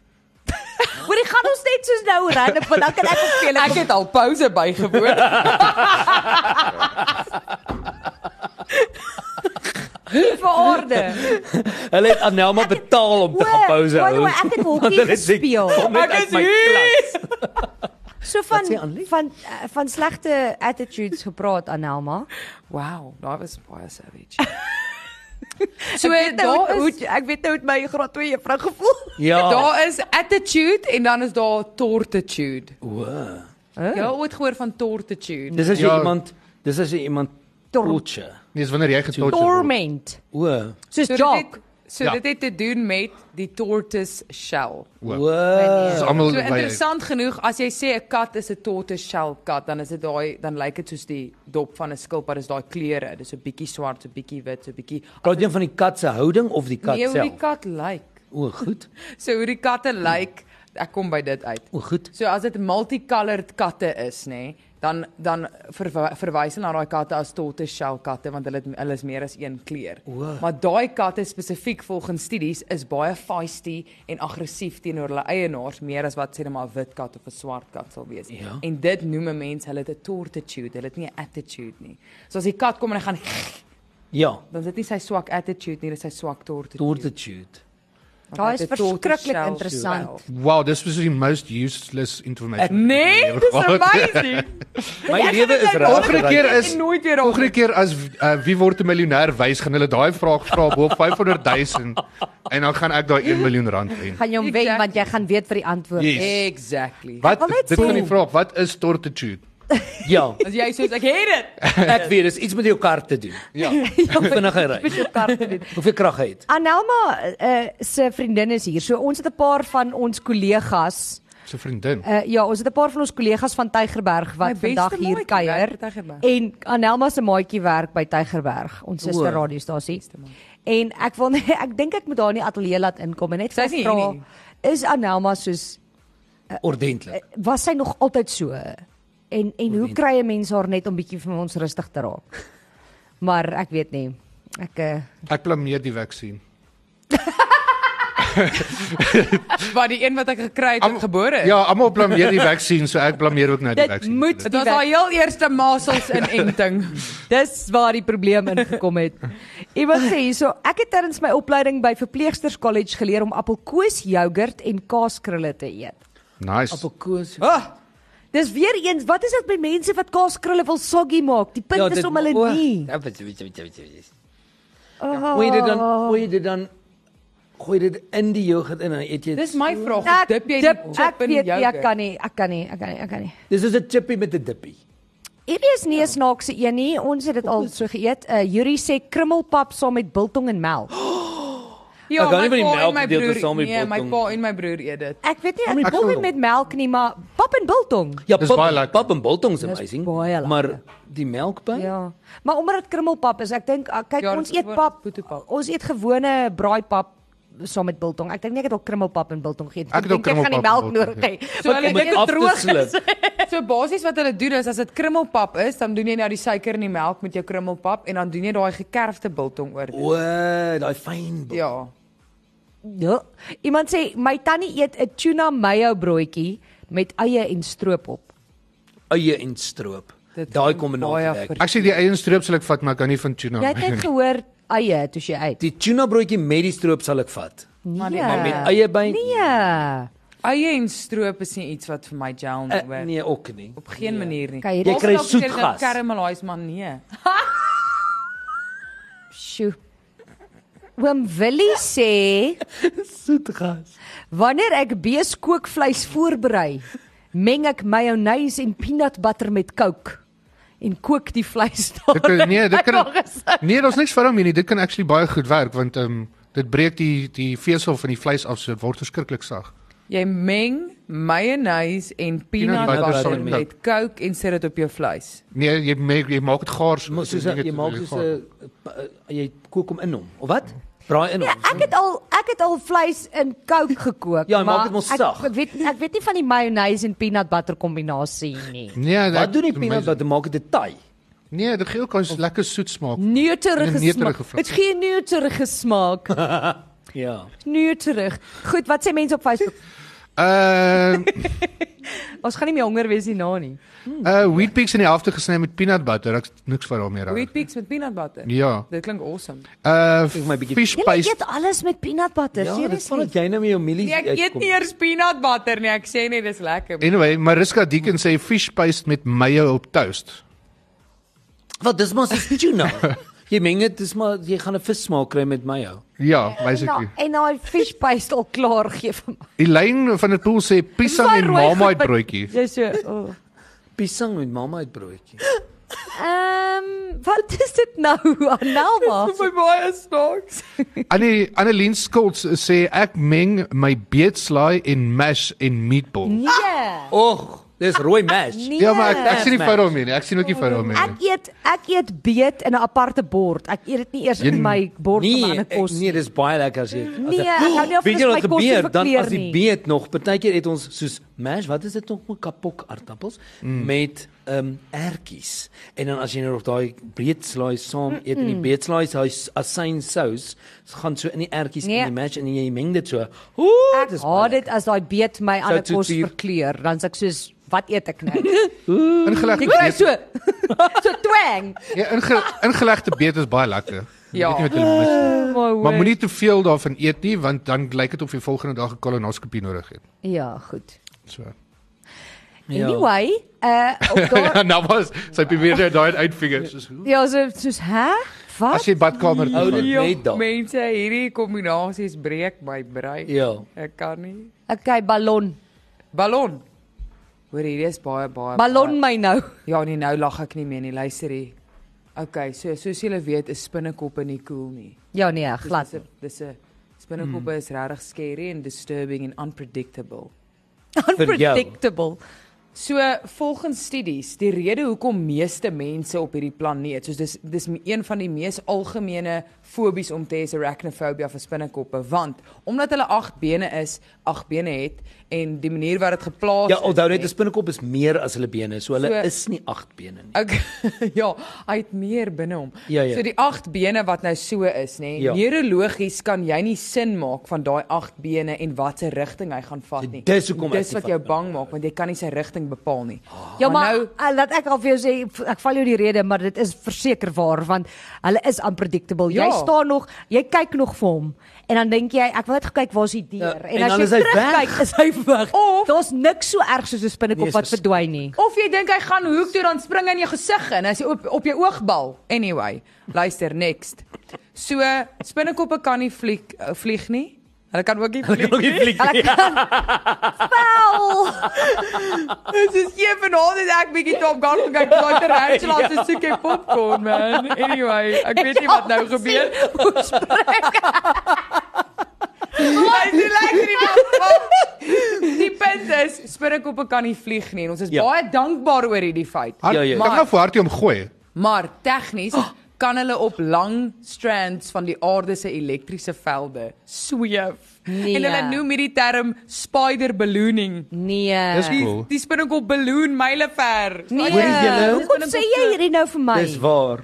Speaker 1: Hoor, jy gaan ons net soos nou random want dan kan ek ook vir
Speaker 3: Ek
Speaker 1: julle
Speaker 3: het al pouse bygewoon.
Speaker 1: vir orde.
Speaker 4: Hulle het Anelma betaal om te gaan pouse
Speaker 1: Hoor,
Speaker 4: hou.
Speaker 1: hoor, ek het hokkie
Speaker 4: Want hulle sê,
Speaker 1: gespeel.
Speaker 4: "Kom net
Speaker 3: Ek
Speaker 4: uit
Speaker 3: is
Speaker 4: my
Speaker 3: hier."
Speaker 4: klas."
Speaker 1: So van
Speaker 4: Wat sê Annelie?
Speaker 1: van eh, van slegte attitudes gepraat aan Helma.
Speaker 3: Wow, daai was baie savage. So
Speaker 1: Ek weet nou
Speaker 3: daar
Speaker 1: hoe
Speaker 3: is
Speaker 1: het- ek weet nou hoe het my graad 2 juffrou gevoel.
Speaker 4: Ja.
Speaker 3: daar is attitude en dan is daar tortitude.
Speaker 4: Wow.
Speaker 1: Oh.
Speaker 3: Jy het ooit gehoor van tortitude.
Speaker 4: Dis as jy
Speaker 2: Ja.
Speaker 4: iemand, dis as jy iemand
Speaker 1: Tor-
Speaker 4: torture.
Speaker 2: Nee, dis wanneer jy getort word.
Speaker 1: Torment.
Speaker 4: O.
Speaker 1: Soos
Speaker 3: So dit
Speaker 1: Jock.
Speaker 3: het, so
Speaker 2: Ja.
Speaker 3: dit het te doen met die tortoise shell.
Speaker 2: Wow.
Speaker 1: Eh,
Speaker 2: Dis
Speaker 4: Wow.
Speaker 2: almal
Speaker 3: So
Speaker 2: by.
Speaker 3: interessant genoeg, as jy sê 'n kat is 'n tortoise shell kat, dan is dit daai dan lyk dit soos die dop van 'n skilpad, is daai kleure. Dis so bietjie swart, so bietjie wit, so bietjie
Speaker 4: Praat jy van die kat se houding of die kat
Speaker 3: Nee, hoe die
Speaker 4: self?
Speaker 3: kat lyk.
Speaker 4: O, goed.
Speaker 3: So hoe die katte lyk, ek kom by dit uit.
Speaker 4: O, goed.
Speaker 3: So as dit multicolored katte is, nê, nee, dan dan verwy- verwys hulle na daai katte as tortoise shell katte want hulle het, hulle is meer as een kleur.
Speaker 4: Wow.
Speaker 3: Maar daai katte spesifiek volgens studies is baie feisty en aggressief teenoor hulle eienaars meer as wat sê net maar 'n wit kat of 'n swart kat sal wees.
Speaker 4: Ja.
Speaker 3: En dit noem 'n mens hulle het 'n tortitude, hulle het nie 'n attitude nie. So as die kat kom en hy gaan
Speaker 4: Ja,
Speaker 3: dan sit nie sy swak attitude nie, dis sy swak tortitude.
Speaker 4: tortitude.
Speaker 1: Daai is
Speaker 3: Met 'n tortoise
Speaker 1: verskriklik
Speaker 3: shell
Speaker 1: interessant.
Speaker 2: Wow, dis was die most useless information.
Speaker 3: Nee, dis amazing.
Speaker 4: My lewe is
Speaker 2: Volgende
Speaker 4: reg.
Speaker 2: keer
Speaker 3: Ek
Speaker 2: is
Speaker 3: het nooit
Speaker 1: Nou,
Speaker 3: weer op.
Speaker 2: volgende keer as uh, wie word 'n miljonair wys gaan hulle daai vraag vra bo op 500 000 en dan gaan ek daai 1 miljoen rand wen.
Speaker 1: Gaan jou wen
Speaker 3: Exactly.
Speaker 1: want jy gaan weet vir die antwoord.
Speaker 2: Yes.
Speaker 3: Exactly.
Speaker 1: wil
Speaker 2: Wat
Speaker 1: net
Speaker 2: dit van
Speaker 1: sien.
Speaker 2: die vraag, wat is tortitude?
Speaker 4: Ja,
Speaker 3: As jy sê ek het dit.
Speaker 4: ek weet dis iets met jou kar te doen.
Speaker 2: Ja.
Speaker 4: Vinnig ry.
Speaker 1: Met jou kaarte doen.
Speaker 4: Hoeveel krag hy het.
Speaker 1: Anelma uh, se vriendin is hier. So ons het 'n paar van ons kollegas
Speaker 2: So vriendin.
Speaker 1: Uh, ja, ons het 'n paar van ons kollegas van Tygerberg
Speaker 3: My
Speaker 1: wat
Speaker 3: beste
Speaker 1: vandag hier
Speaker 3: maatjie
Speaker 1: kuier.
Speaker 3: werk by Tygerberg.
Speaker 1: En Anelma se maatjie werk by Tygerberg, ons suster
Speaker 4: O.
Speaker 1: radiostasie. En ek wil nie, ek dink ek moet daar in die ateljee laat inkom en net
Speaker 3: Sy is nie hier
Speaker 1: vra
Speaker 3: nie.
Speaker 1: is Anelma soos
Speaker 4: Ordentlik.
Speaker 1: was sy nog altyd so? En en hoe kry 'n mens haar net om bietjie vir ons rustig te raak? Maar ek weet nie. Ek uh,
Speaker 2: Ek blameer die vaksin.
Speaker 3: Wat die een wat ek gekry het
Speaker 2: Am-
Speaker 3: wat gebore is.
Speaker 2: Ja, almal blameer die vaksin, so ek blameer ook nou die
Speaker 1: Dit
Speaker 2: vaksin.
Speaker 1: moet-
Speaker 3: Dit was haar heel eerste masels inenting.
Speaker 1: Dis waar die probleem ingekom het. Iemand sê hierso, ek het tydens my opleiding by Verpleegsters College geleer om appelkoos, jogurt en kaaskrulle te eet.
Speaker 2: Nice.
Speaker 4: Appelkoos.
Speaker 3: Ah,
Speaker 1: Dis weer eens, wat is dit met mense wat kaaskrulle wil soggy maak? Die punt ja, is om hulle
Speaker 4: o,
Speaker 1: nie.
Speaker 4: ja, wat- wat- wat- wat- wat-
Speaker 1: Oh,
Speaker 4: Gooi dit dan, gooi dit dan gooi dit in die yoghurt in en dan eet jy.
Speaker 3: dis
Speaker 4: het.
Speaker 3: my vraag.
Speaker 1: Ek
Speaker 3: Dip
Speaker 1: dip,
Speaker 3: jy die
Speaker 1: ek
Speaker 3: chip in
Speaker 1: weet
Speaker 3: jou?
Speaker 1: nie, ek kan nie, ek kan nie, ek kan nie, ek kan nie.
Speaker 4: Dis is 'n chippie met 'n dippie.
Speaker 1: Hierdie is nie 'n snaakse een nie. Ons het dit al so geëet. Uh Yuri sê krummelpap saam met biltong en melk.
Speaker 3: Ja,
Speaker 4: Ek hou nie
Speaker 3: my
Speaker 4: van die
Speaker 3: pa en
Speaker 4: melk
Speaker 3: my
Speaker 4: gedeelte
Speaker 3: broer-
Speaker 4: saam met
Speaker 3: Nee, my
Speaker 4: biltong.
Speaker 3: pa en my broer eet dit.
Speaker 1: Ek weet nie,
Speaker 4: met
Speaker 1: ek kom nie
Speaker 4: biltong?
Speaker 1: met melk nie, maar pap en biltong.
Speaker 4: Ja,
Speaker 2: Dis
Speaker 4: pap,
Speaker 2: baie lekker.
Speaker 4: pap en biltong is amazing.
Speaker 1: baie lekker.
Speaker 4: Maar die melkpyn?
Speaker 1: Ja. Maar omdat dit krummelpap is, ek dink ah, kyk
Speaker 3: Ja,
Speaker 1: ja,
Speaker 3: dit
Speaker 1: ons
Speaker 3: is
Speaker 1: eet
Speaker 3: gewoon
Speaker 1: pap,
Speaker 3: boeterpap.
Speaker 1: ons eet gewone braaipap saam met biltong. Ek dink nie ek het al krummelpap en biltong geëet. nie.
Speaker 2: Ek het ook
Speaker 1: dink ek gaan die melk
Speaker 2: krummelpap en
Speaker 1: nodig
Speaker 2: biltong
Speaker 1: hê.
Speaker 3: So hulle
Speaker 4: Om dit af te sluk.
Speaker 3: So basies wat hulle doen is as dit krummelpap is, dan doen jy nou die suiker in die melk met jou krummelpap en dan doen jy daai gekerfde biltong oor. dit.
Speaker 4: O, daai fyn. bil-
Speaker 3: Ja.
Speaker 1: Ja. Iemand sê my tannie eet 'n tuna mayo broodjie met eie en stroopop.
Speaker 4: Eie en stroop.
Speaker 3: Dit
Speaker 4: Daai
Speaker 3: klink baie
Speaker 4: kombinasie werk.
Speaker 3: ver-
Speaker 2: Ek sê die eie stroop sal ek vat, maar ek hou nie van tuna.
Speaker 1: Jy het net gehoor eie toe jy uit.
Speaker 4: Die tuna broodjie met die stroop sal ek vat.
Speaker 1: Nee.
Speaker 3: Maar Eh, nie- maar
Speaker 4: met eie by-
Speaker 1: Nee.
Speaker 3: Eie en stroop is nie iets wat vir my gel nie.
Speaker 4: Uh,
Speaker 3: hoor.
Speaker 4: nee, ook nie.
Speaker 3: Op geen manier nie.
Speaker 1: Kan jy
Speaker 4: Jy
Speaker 1: dit
Speaker 4: kry
Speaker 3: Of dalk
Speaker 4: soet
Speaker 3: sê dit
Speaker 4: gas.
Speaker 3: Caramelise man nee.
Speaker 1: sjoe. Oom Willie sê
Speaker 4: Soet gas.
Speaker 1: Wanneer ek beeskookvleis voorberei, meng ek mayonnaise en peanut butter met Coke en kook die vleis daar.
Speaker 2: Dit kan nee, dit
Speaker 1: Ek
Speaker 2: kan
Speaker 1: al gesê.
Speaker 2: Nee, daar's niks vir hom hier nie. Dit kan actually baie goed werk want ehm um, dit breek die die vesel van die vleis af, so dit word verskriklik sag.
Speaker 3: Jy meng mayonnaise en peanut butter met Coke en sit dit op jou vleis.
Speaker 2: Nee, jy maak jy maak dit gaar so.
Speaker 4: Maar soos eh,
Speaker 2: Jy
Speaker 4: jy
Speaker 2: maak
Speaker 4: maak
Speaker 2: dit
Speaker 4: so
Speaker 2: gaar.
Speaker 4: 'n jy kook hom in hom. Of wat? Braai in
Speaker 1: Ja,
Speaker 4: ons.
Speaker 1: ek het al ek het al vleis in Coke gekook,
Speaker 4: Ja, hy maak
Speaker 1: maar
Speaker 4: dit mos
Speaker 1: ek-
Speaker 4: sag.
Speaker 1: Ek weet ek weet nie van die mayonnaise en peanut butter kombinasie nie.
Speaker 2: Nee,
Speaker 4: Wat doen die
Speaker 2: dit-
Speaker 4: peanut butter maak dit 'n taai?
Speaker 2: Nee, dit gee ook 'n lekker soet smaak.
Speaker 1: Neuterige
Speaker 2: En 'n neuterige
Speaker 1: smaak.
Speaker 2: vrou.
Speaker 1: Dit gee 'n neuterige smaak.
Speaker 4: Ja.
Speaker 1: Neuterig. Goed, wat sê mense op Facebook?
Speaker 2: Ehm
Speaker 1: Ons gaan nie meer honger wees hierna nie.
Speaker 2: uh wheat peaks in die helfte gesny met peanut butter. Ek niks van daarmee raak.
Speaker 3: Wheat Peaks met peanut butter.
Speaker 2: Ja.
Speaker 3: Dit klink awesome.
Speaker 2: Uh
Speaker 4: Ek my bietjie-
Speaker 2: fish
Speaker 1: Jy
Speaker 2: paste.
Speaker 1: eet alles met peanut butter,
Speaker 4: Ja, dit
Speaker 1: seriously.
Speaker 4: sal dat jy nou met jou mielie
Speaker 3: Nee, ek eet
Speaker 4: uitkom.
Speaker 3: nie eers peanut butter nie. Ek sê net dis lekker.
Speaker 2: Anyway, Mariska Deakin sê fish paste met mayo op toast.
Speaker 4: Wat dis mos is tuna. jy meng dit, dis maar jy gaan 'n vis smaak kry met mayo.
Speaker 2: Ja,
Speaker 1: Nou,
Speaker 2: basically.
Speaker 1: en daai fish paste al klaar gee vir my.
Speaker 2: Elaine van der Pool sê piesang en marmite broodjie.
Speaker 1: Jy so. oh.
Speaker 4: Piesang met mamma uit broodjie.
Speaker 1: Ehm, wat is dit nou? Analma.
Speaker 3: Vir my baie snaaks.
Speaker 2: Annie Annelien Skults sê ek meng my beetslaai en mash en meatballs.
Speaker 1: Nee.
Speaker 4: Och, dis rooi mash.
Speaker 1: Nee.
Speaker 2: Ja, maar ek, ek sien die
Speaker 4: Mash.
Speaker 2: foto daarmee nie. Ek sien ook die foto daarmee nie.
Speaker 1: Ek eet ek eet beet in 'n aparte bord. Ek eet dit nie eers in
Speaker 2: Jy-
Speaker 1: my bord van my
Speaker 4: Nee,
Speaker 1: ander
Speaker 4: ek,
Speaker 1: kos
Speaker 4: nee,
Speaker 1: nie.
Speaker 4: dis baie lekker as jy. as
Speaker 1: Nee,
Speaker 4: jy-
Speaker 1: ek hou nie af
Speaker 4: Weet
Speaker 1: van
Speaker 4: jy
Speaker 1: my
Speaker 4: wat
Speaker 1: kos te
Speaker 4: gebeur? Dan
Speaker 1: verkleur
Speaker 4: as die
Speaker 1: nie.
Speaker 4: beet nog, partykeer het ons soos mash, wat is dit nog met kapok aartappels mm. met ehm um, ertjies. En dan as jy nou nog daai breedslaai saam eet en die breedslaai hy asyn sous gaan so in die ertjies
Speaker 1: Nee.
Speaker 4: en die mash en jy meng dit so. Ooh,
Speaker 1: Ek haat dit as daai beet my ander
Speaker 4: toe
Speaker 1: kos
Speaker 4: duur.
Speaker 1: verkleur, dan sê ek soos wat eet ek nou?
Speaker 2: Ingelegde
Speaker 1: Jy kry
Speaker 2: beet,
Speaker 1: so so twang.
Speaker 2: ja, inge, ingelegde beet is baie lekker.
Speaker 3: Ja.
Speaker 2: Weet nie wat hulle mis nie.
Speaker 1: Maar,
Speaker 2: Maar moenie te veel daarvan eet nie want dan lyk dit of jy volgende dag 'n kolonoskopie nodig het.
Speaker 1: Ja, goed.
Speaker 2: So.
Speaker 4: Ja.
Speaker 1: Anyway, uh op daar
Speaker 2: En nou was sy probeer net daai uitfigure soos hoe.
Speaker 1: Ja, so soos hè?
Speaker 2: As
Speaker 1: Wat?
Speaker 2: jy badkamer toe
Speaker 4: Ou, dit-
Speaker 2: gaan.
Speaker 3: Jong,
Speaker 4: net dan.
Speaker 3: Mense, hierdie kombinasies breek my brein.
Speaker 4: Ja.
Speaker 3: Ek kan nie.
Speaker 1: Okay, ballon.
Speaker 3: Ballon. Hoor hierdie is baie baie.
Speaker 1: Ballon my nou.
Speaker 3: baie- Ja, nee, nou lag ek nie meer nie. Luister hier. Okay, so soos julle weet, is spinnekoppe nie cool nie.
Speaker 1: Ja nee, glad.
Speaker 3: Dus Dis 'n dis 'n
Speaker 4: Hmm.
Speaker 3: spinnekoppe is regtig scary en disturbing en unpredictable.
Speaker 4: vir jou.
Speaker 1: Unpredictable.
Speaker 3: So volgens studies, die rede hoekom meeste mense op hierdie planeet, soos dis dis een van die mees algemene fobies om te hê, is arachnophobia vir spinnekoppe, want omdat hulle agt bene is, agt bene het en die manier wat dit geplaas
Speaker 4: Ja, onthou net 'n
Speaker 3: is.
Speaker 4: spinnekop is meer as hulle bene, so hulle
Speaker 3: So-
Speaker 4: so, is nie agt bene nie.
Speaker 3: Ek ja, hy het meer binne hom.
Speaker 4: Ja, ja.
Speaker 3: So die agt bene wat nou so is, nê.
Speaker 4: Ja.
Speaker 3: Neurologies kan jy nie sin maak van daai agt bene en watter rigting hy gaan vat nie.
Speaker 4: Dis hoekom ek
Speaker 3: Dis
Speaker 4: nie
Speaker 3: wat
Speaker 4: vat nou. Ah.
Speaker 3: jou
Speaker 4: nie.
Speaker 3: bang maak want jy kan nie sy rigting bepaal nie.
Speaker 1: Ja maar nou, laat ek al vir jou sê f- ek val jou die rede maar dit is verseker waar want hulle is unpredictable. Ja.
Speaker 3: Ja.
Speaker 1: Jy staan nog, jy kyk nog vir hom en dan dink jy ek wil net gekyk waar's die dier
Speaker 4: Ja,
Speaker 1: ja,
Speaker 4: en
Speaker 1: en, as
Speaker 4: dan is
Speaker 1: jy
Speaker 4: hy
Speaker 1: terugkyk
Speaker 4: weg.
Speaker 1: is hy weg.
Speaker 3: Of-
Speaker 1: Daar's niks so erg soos 'n
Speaker 4: Nee,
Speaker 1: spinnekop
Speaker 4: is
Speaker 1: wat
Speaker 4: vers-
Speaker 1: verdwyn nie.
Speaker 3: Of jy dink hy gaan hoek toe dan spring hy in jou gesig in as jy op op jou oogbal. Anyway, luister next. So spinnekoppe kan nie vlieg eh, vlieg nie. Hulle kan ook nie vlieg.
Speaker 4: Nog nie fliek nie.
Speaker 3: Ja.
Speaker 1: Wel.
Speaker 3: Dit is hier vanaand het ek bietjie Top Gun gekyk, Dr. Angela se soekie popcorn man. Anyway, ek weet nie wat nou gebeur. Hy is nie lekker nie. maar- Die punt is spinnekoppe kan nie vlieg nie en ons is
Speaker 4: Ja.
Speaker 3: baie dankbaar oor hierdie feit.
Speaker 2: Hart, ja,
Speaker 4: Ja, ja.
Speaker 2: ja. Kan nou vir hartie omgooi.
Speaker 3: Maar tegnies kan hulle op lang strands van die aarde se elektriese velde sweef.
Speaker 1: Nee.
Speaker 3: En hulle noem hierdie term spider ballooning.
Speaker 2: Dis
Speaker 1: Nee.
Speaker 2: cool.
Speaker 3: Die, die spinnekop balloon myle ver.
Speaker 1: Nee.
Speaker 4: Hoorie julle?
Speaker 1: Hoekom sê jy hierdie nou vir my?
Speaker 4: nou? Dis waar.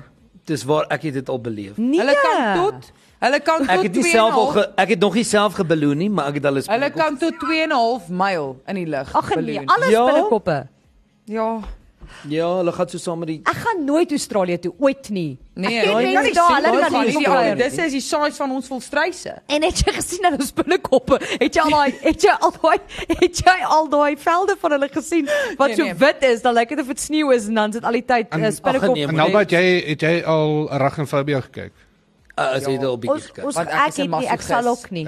Speaker 4: Dis waar ek het dit al beleef.
Speaker 1: Nee.
Speaker 3: Hulle kan tot hulle kan tot
Speaker 4: Ek het nie self al
Speaker 3: 2,5
Speaker 4: ge, ek het nog nie self gebeloon nie, maar ek het al 'n
Speaker 3: Hulle
Speaker 4: spinnekop-
Speaker 3: kan tot 2,5 myl in die lug
Speaker 1: Ag nee,
Speaker 3: balloon.
Speaker 1: alles
Speaker 4: Ja.
Speaker 1: spinnekoppe.
Speaker 3: Ja.
Speaker 4: Ja, hulle gaan so saam met die
Speaker 1: Ek gaan nooit Australië toe ooit nie.
Speaker 3: Nee,
Speaker 1: ek
Speaker 3: jy
Speaker 1: ken
Speaker 4: kan
Speaker 1: mense
Speaker 4: nie
Speaker 1: daar,
Speaker 4: sien
Speaker 1: hulle
Speaker 4: waar
Speaker 1: kan
Speaker 4: van
Speaker 1: nie
Speaker 4: hierdie
Speaker 1: so
Speaker 4: oude
Speaker 1: kuier.
Speaker 3: dis is die size van ons volstruise.
Speaker 1: En het jy gesien hulle spinnekoppe? Het jy al daai het jy al daai het jy al daai velde van hulle gesien wat
Speaker 3: Nee,
Speaker 1: so
Speaker 3: nee.
Speaker 1: wit is, dan lyk dit of dit sneeu is en dan sit al die tyd
Speaker 2: En-
Speaker 1: uh, spinnekop.
Speaker 4: ag, nee,
Speaker 2: En
Speaker 4: maar
Speaker 2: nou wat jy het jy al arachnofobia gekyk?
Speaker 4: uh, as jy dit al bietjie
Speaker 1: Ons
Speaker 4: gekyk.
Speaker 1: ons
Speaker 3: Want ek is
Speaker 1: ek
Speaker 3: een
Speaker 1: het nie, ek sal
Speaker 3: masochist.
Speaker 1: ook nie.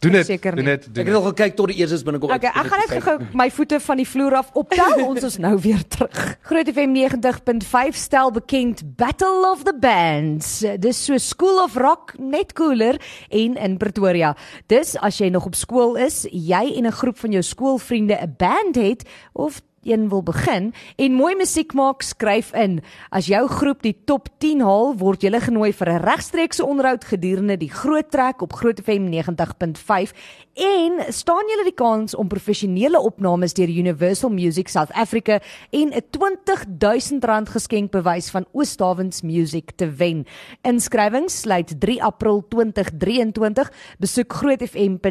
Speaker 2: Doen dit.
Speaker 1: Verseker
Speaker 2: Doen
Speaker 1: nie.
Speaker 2: dit.
Speaker 4: Ek
Speaker 2: Doen dit.
Speaker 4: het al gekyk tot die eerste binnekop.
Speaker 1: Okay, ek gaan net gou my voete van die vloer af optel. Ons is nou weer terug. Groot FM 90.5 stel bekend Battle of the Bands. Dis so School of Rock net cooler en in Pretoria. Dis as jy nog op skool is, jy en 'n groep van jou skoolvriende 'n band het of een wil begin en mooi musiek maak, skryf in. As jou groep die top 10 haal, word jy genooi vir 'n regstreekse onderhoud gedurende die Groot Trek op Groot FM 90.5 en staan julle die kans om professionele opnames deur Universal Music South Africa en 'n R20000 geskenkbewys van Oosthavens Music te wen. Inskrywings sluit 3 April 2023. Besoek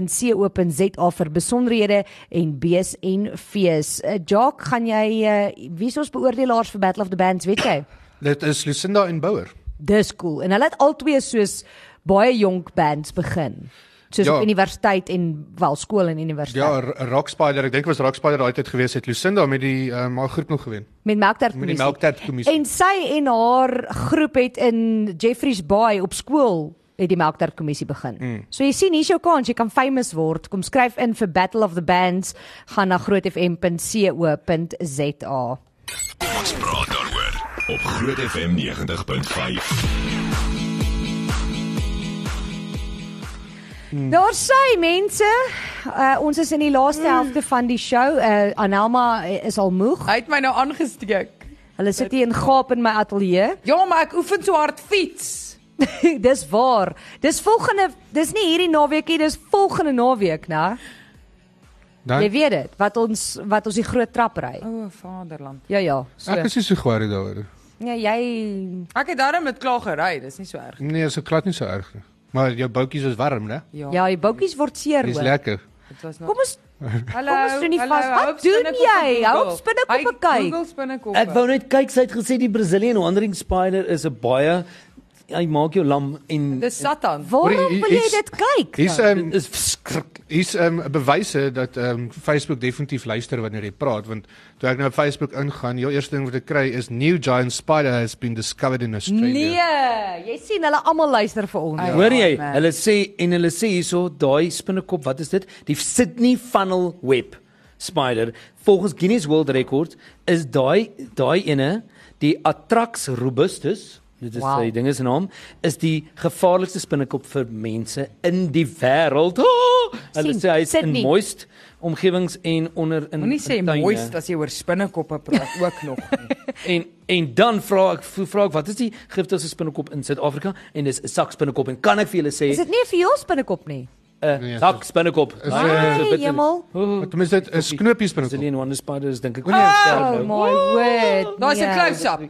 Speaker 1: grootfm.co.za vir besonderhede en bees en fees. Uh, Jock, gaan jy uh, wie is ons beoordelaars vir Battle of the Bands, weet jy?
Speaker 2: Dit is Lucinda en Bouwer.
Speaker 1: Dis cool. En hulle het albei soos baie jonk bands begin. Soos
Speaker 2: Ja.
Speaker 1: ja. op universiteit en wel skool en universiteit.
Speaker 2: Ja, R- Rock Spider, ek dink was Rock Spider daai tyd gewees het Lucinda met die uh, maar groep nog gewen.
Speaker 1: met melktert
Speaker 2: Met die
Speaker 1: kommissie.
Speaker 2: melktert kommissie.
Speaker 1: En sy en haar groep het in Jeffreys Bay op skool het die melktert kommissie begin. Mm. So jy sien hier's jou kans, jy kan famous word. Kom skryf in vir Battle of the Bands gaan na grootfm.co.za.
Speaker 5: Ons praat daaroor op Groot FM 90.5.
Speaker 1: Daar sy mense, uh, ons is in die laaste helfte van die show. Uh, Anelma is al moeg.
Speaker 3: Hy het my nou aangesteek.
Speaker 1: Hulle sit hier in gaap in my ateljee.
Speaker 3: Ja, maar ek oefen so hard fiets.
Speaker 1: dis waar. Dis volgende dis nie hierdie naweekie, dis volgende naweek, né?
Speaker 2: Dan
Speaker 1: Jy weet dit, wat ons wat ons die groot trap ry.
Speaker 3: O, vaderland.
Speaker 1: Ja ja, so.
Speaker 2: ek is nie so gwaar daaroor.
Speaker 1: Ja, jy
Speaker 3: Ek het daarmee met klaar gery, dis nie so erg.
Speaker 2: Nee, is so glad nie so erg nie. Maar jou boutjies is warm, né?
Speaker 1: ja, die boutjies word seer
Speaker 2: Dis
Speaker 1: hoor.
Speaker 2: lekker.
Speaker 3: dit was nog
Speaker 1: Kom ons
Speaker 3: Hallo.
Speaker 1: Kom ons doen nie
Speaker 3: hallo,
Speaker 1: vas. Wat
Speaker 3: hou op spinnekoppe
Speaker 1: doen jy?
Speaker 3: Google.
Speaker 1: Hou op spinnekoppe
Speaker 3: Hy
Speaker 1: kyk.
Speaker 3: Google spinnekoppe.
Speaker 4: Ek wou net kyk, sy het gesê die Brazilian Wandering Spider is 'n baie hy maak jou lam en
Speaker 3: dis Satan.
Speaker 2: Hoor,
Speaker 1: waarom
Speaker 2: hier-
Speaker 1: wil jy
Speaker 2: hier's-
Speaker 1: dit kyk?
Speaker 2: Hier's ehm
Speaker 4: is verskriklik.
Speaker 2: hier's ehm bewyse dat ehm Facebook definitief luister wanneer jy praat want toe ek nou op Facebook ingaan, die eerste ding wat ek kry is new giant spider has been discovered in Australia.
Speaker 1: Nee, jy sien hulle almal luister Nee. vir ons.
Speaker 3: Ja.
Speaker 4: Hoor jy?
Speaker 3: man.
Speaker 4: Hulle sê en hulle sê hierso daai spinnekop, wat is dit? Die Sydney funnel web spider. Volgens Guinness World Records is daai daai ene die Atrax robustus Dit is
Speaker 1: Wow.
Speaker 4: wow. die ding is naam is die gevaarlikste spinnekop vir mense in die wêreld. Oh! Hulle
Speaker 1: Sien,
Speaker 4: sê hy's in
Speaker 1: Sydney.
Speaker 4: moist omgewings en onder in
Speaker 3: Moenie sê
Speaker 4: in tuine.
Speaker 3: moist as jy oor spinnekoppe praat ook nog.
Speaker 1: Nee.
Speaker 3: nie.
Speaker 4: En en dan vra ek vra ek wat is die giftigste spinnekop in Suid-Afrika en dis 'n sakspinnekop en kan ek vir julle sê
Speaker 1: Is dit nie 'n viool spinnekop nie?
Speaker 4: 'n
Speaker 2: Nee,
Speaker 4: nee,
Speaker 2: is
Speaker 4: hak spinnekop.
Speaker 1: Ai, hemel.
Speaker 2: Maar ten minste dit is knopies binne.
Speaker 4: Brazilian Wonder Spider is nou. dink ek.
Speaker 1: Oh
Speaker 2: nou?
Speaker 1: my word.
Speaker 3: Daar's 'n
Speaker 1: nee.
Speaker 3: close-up.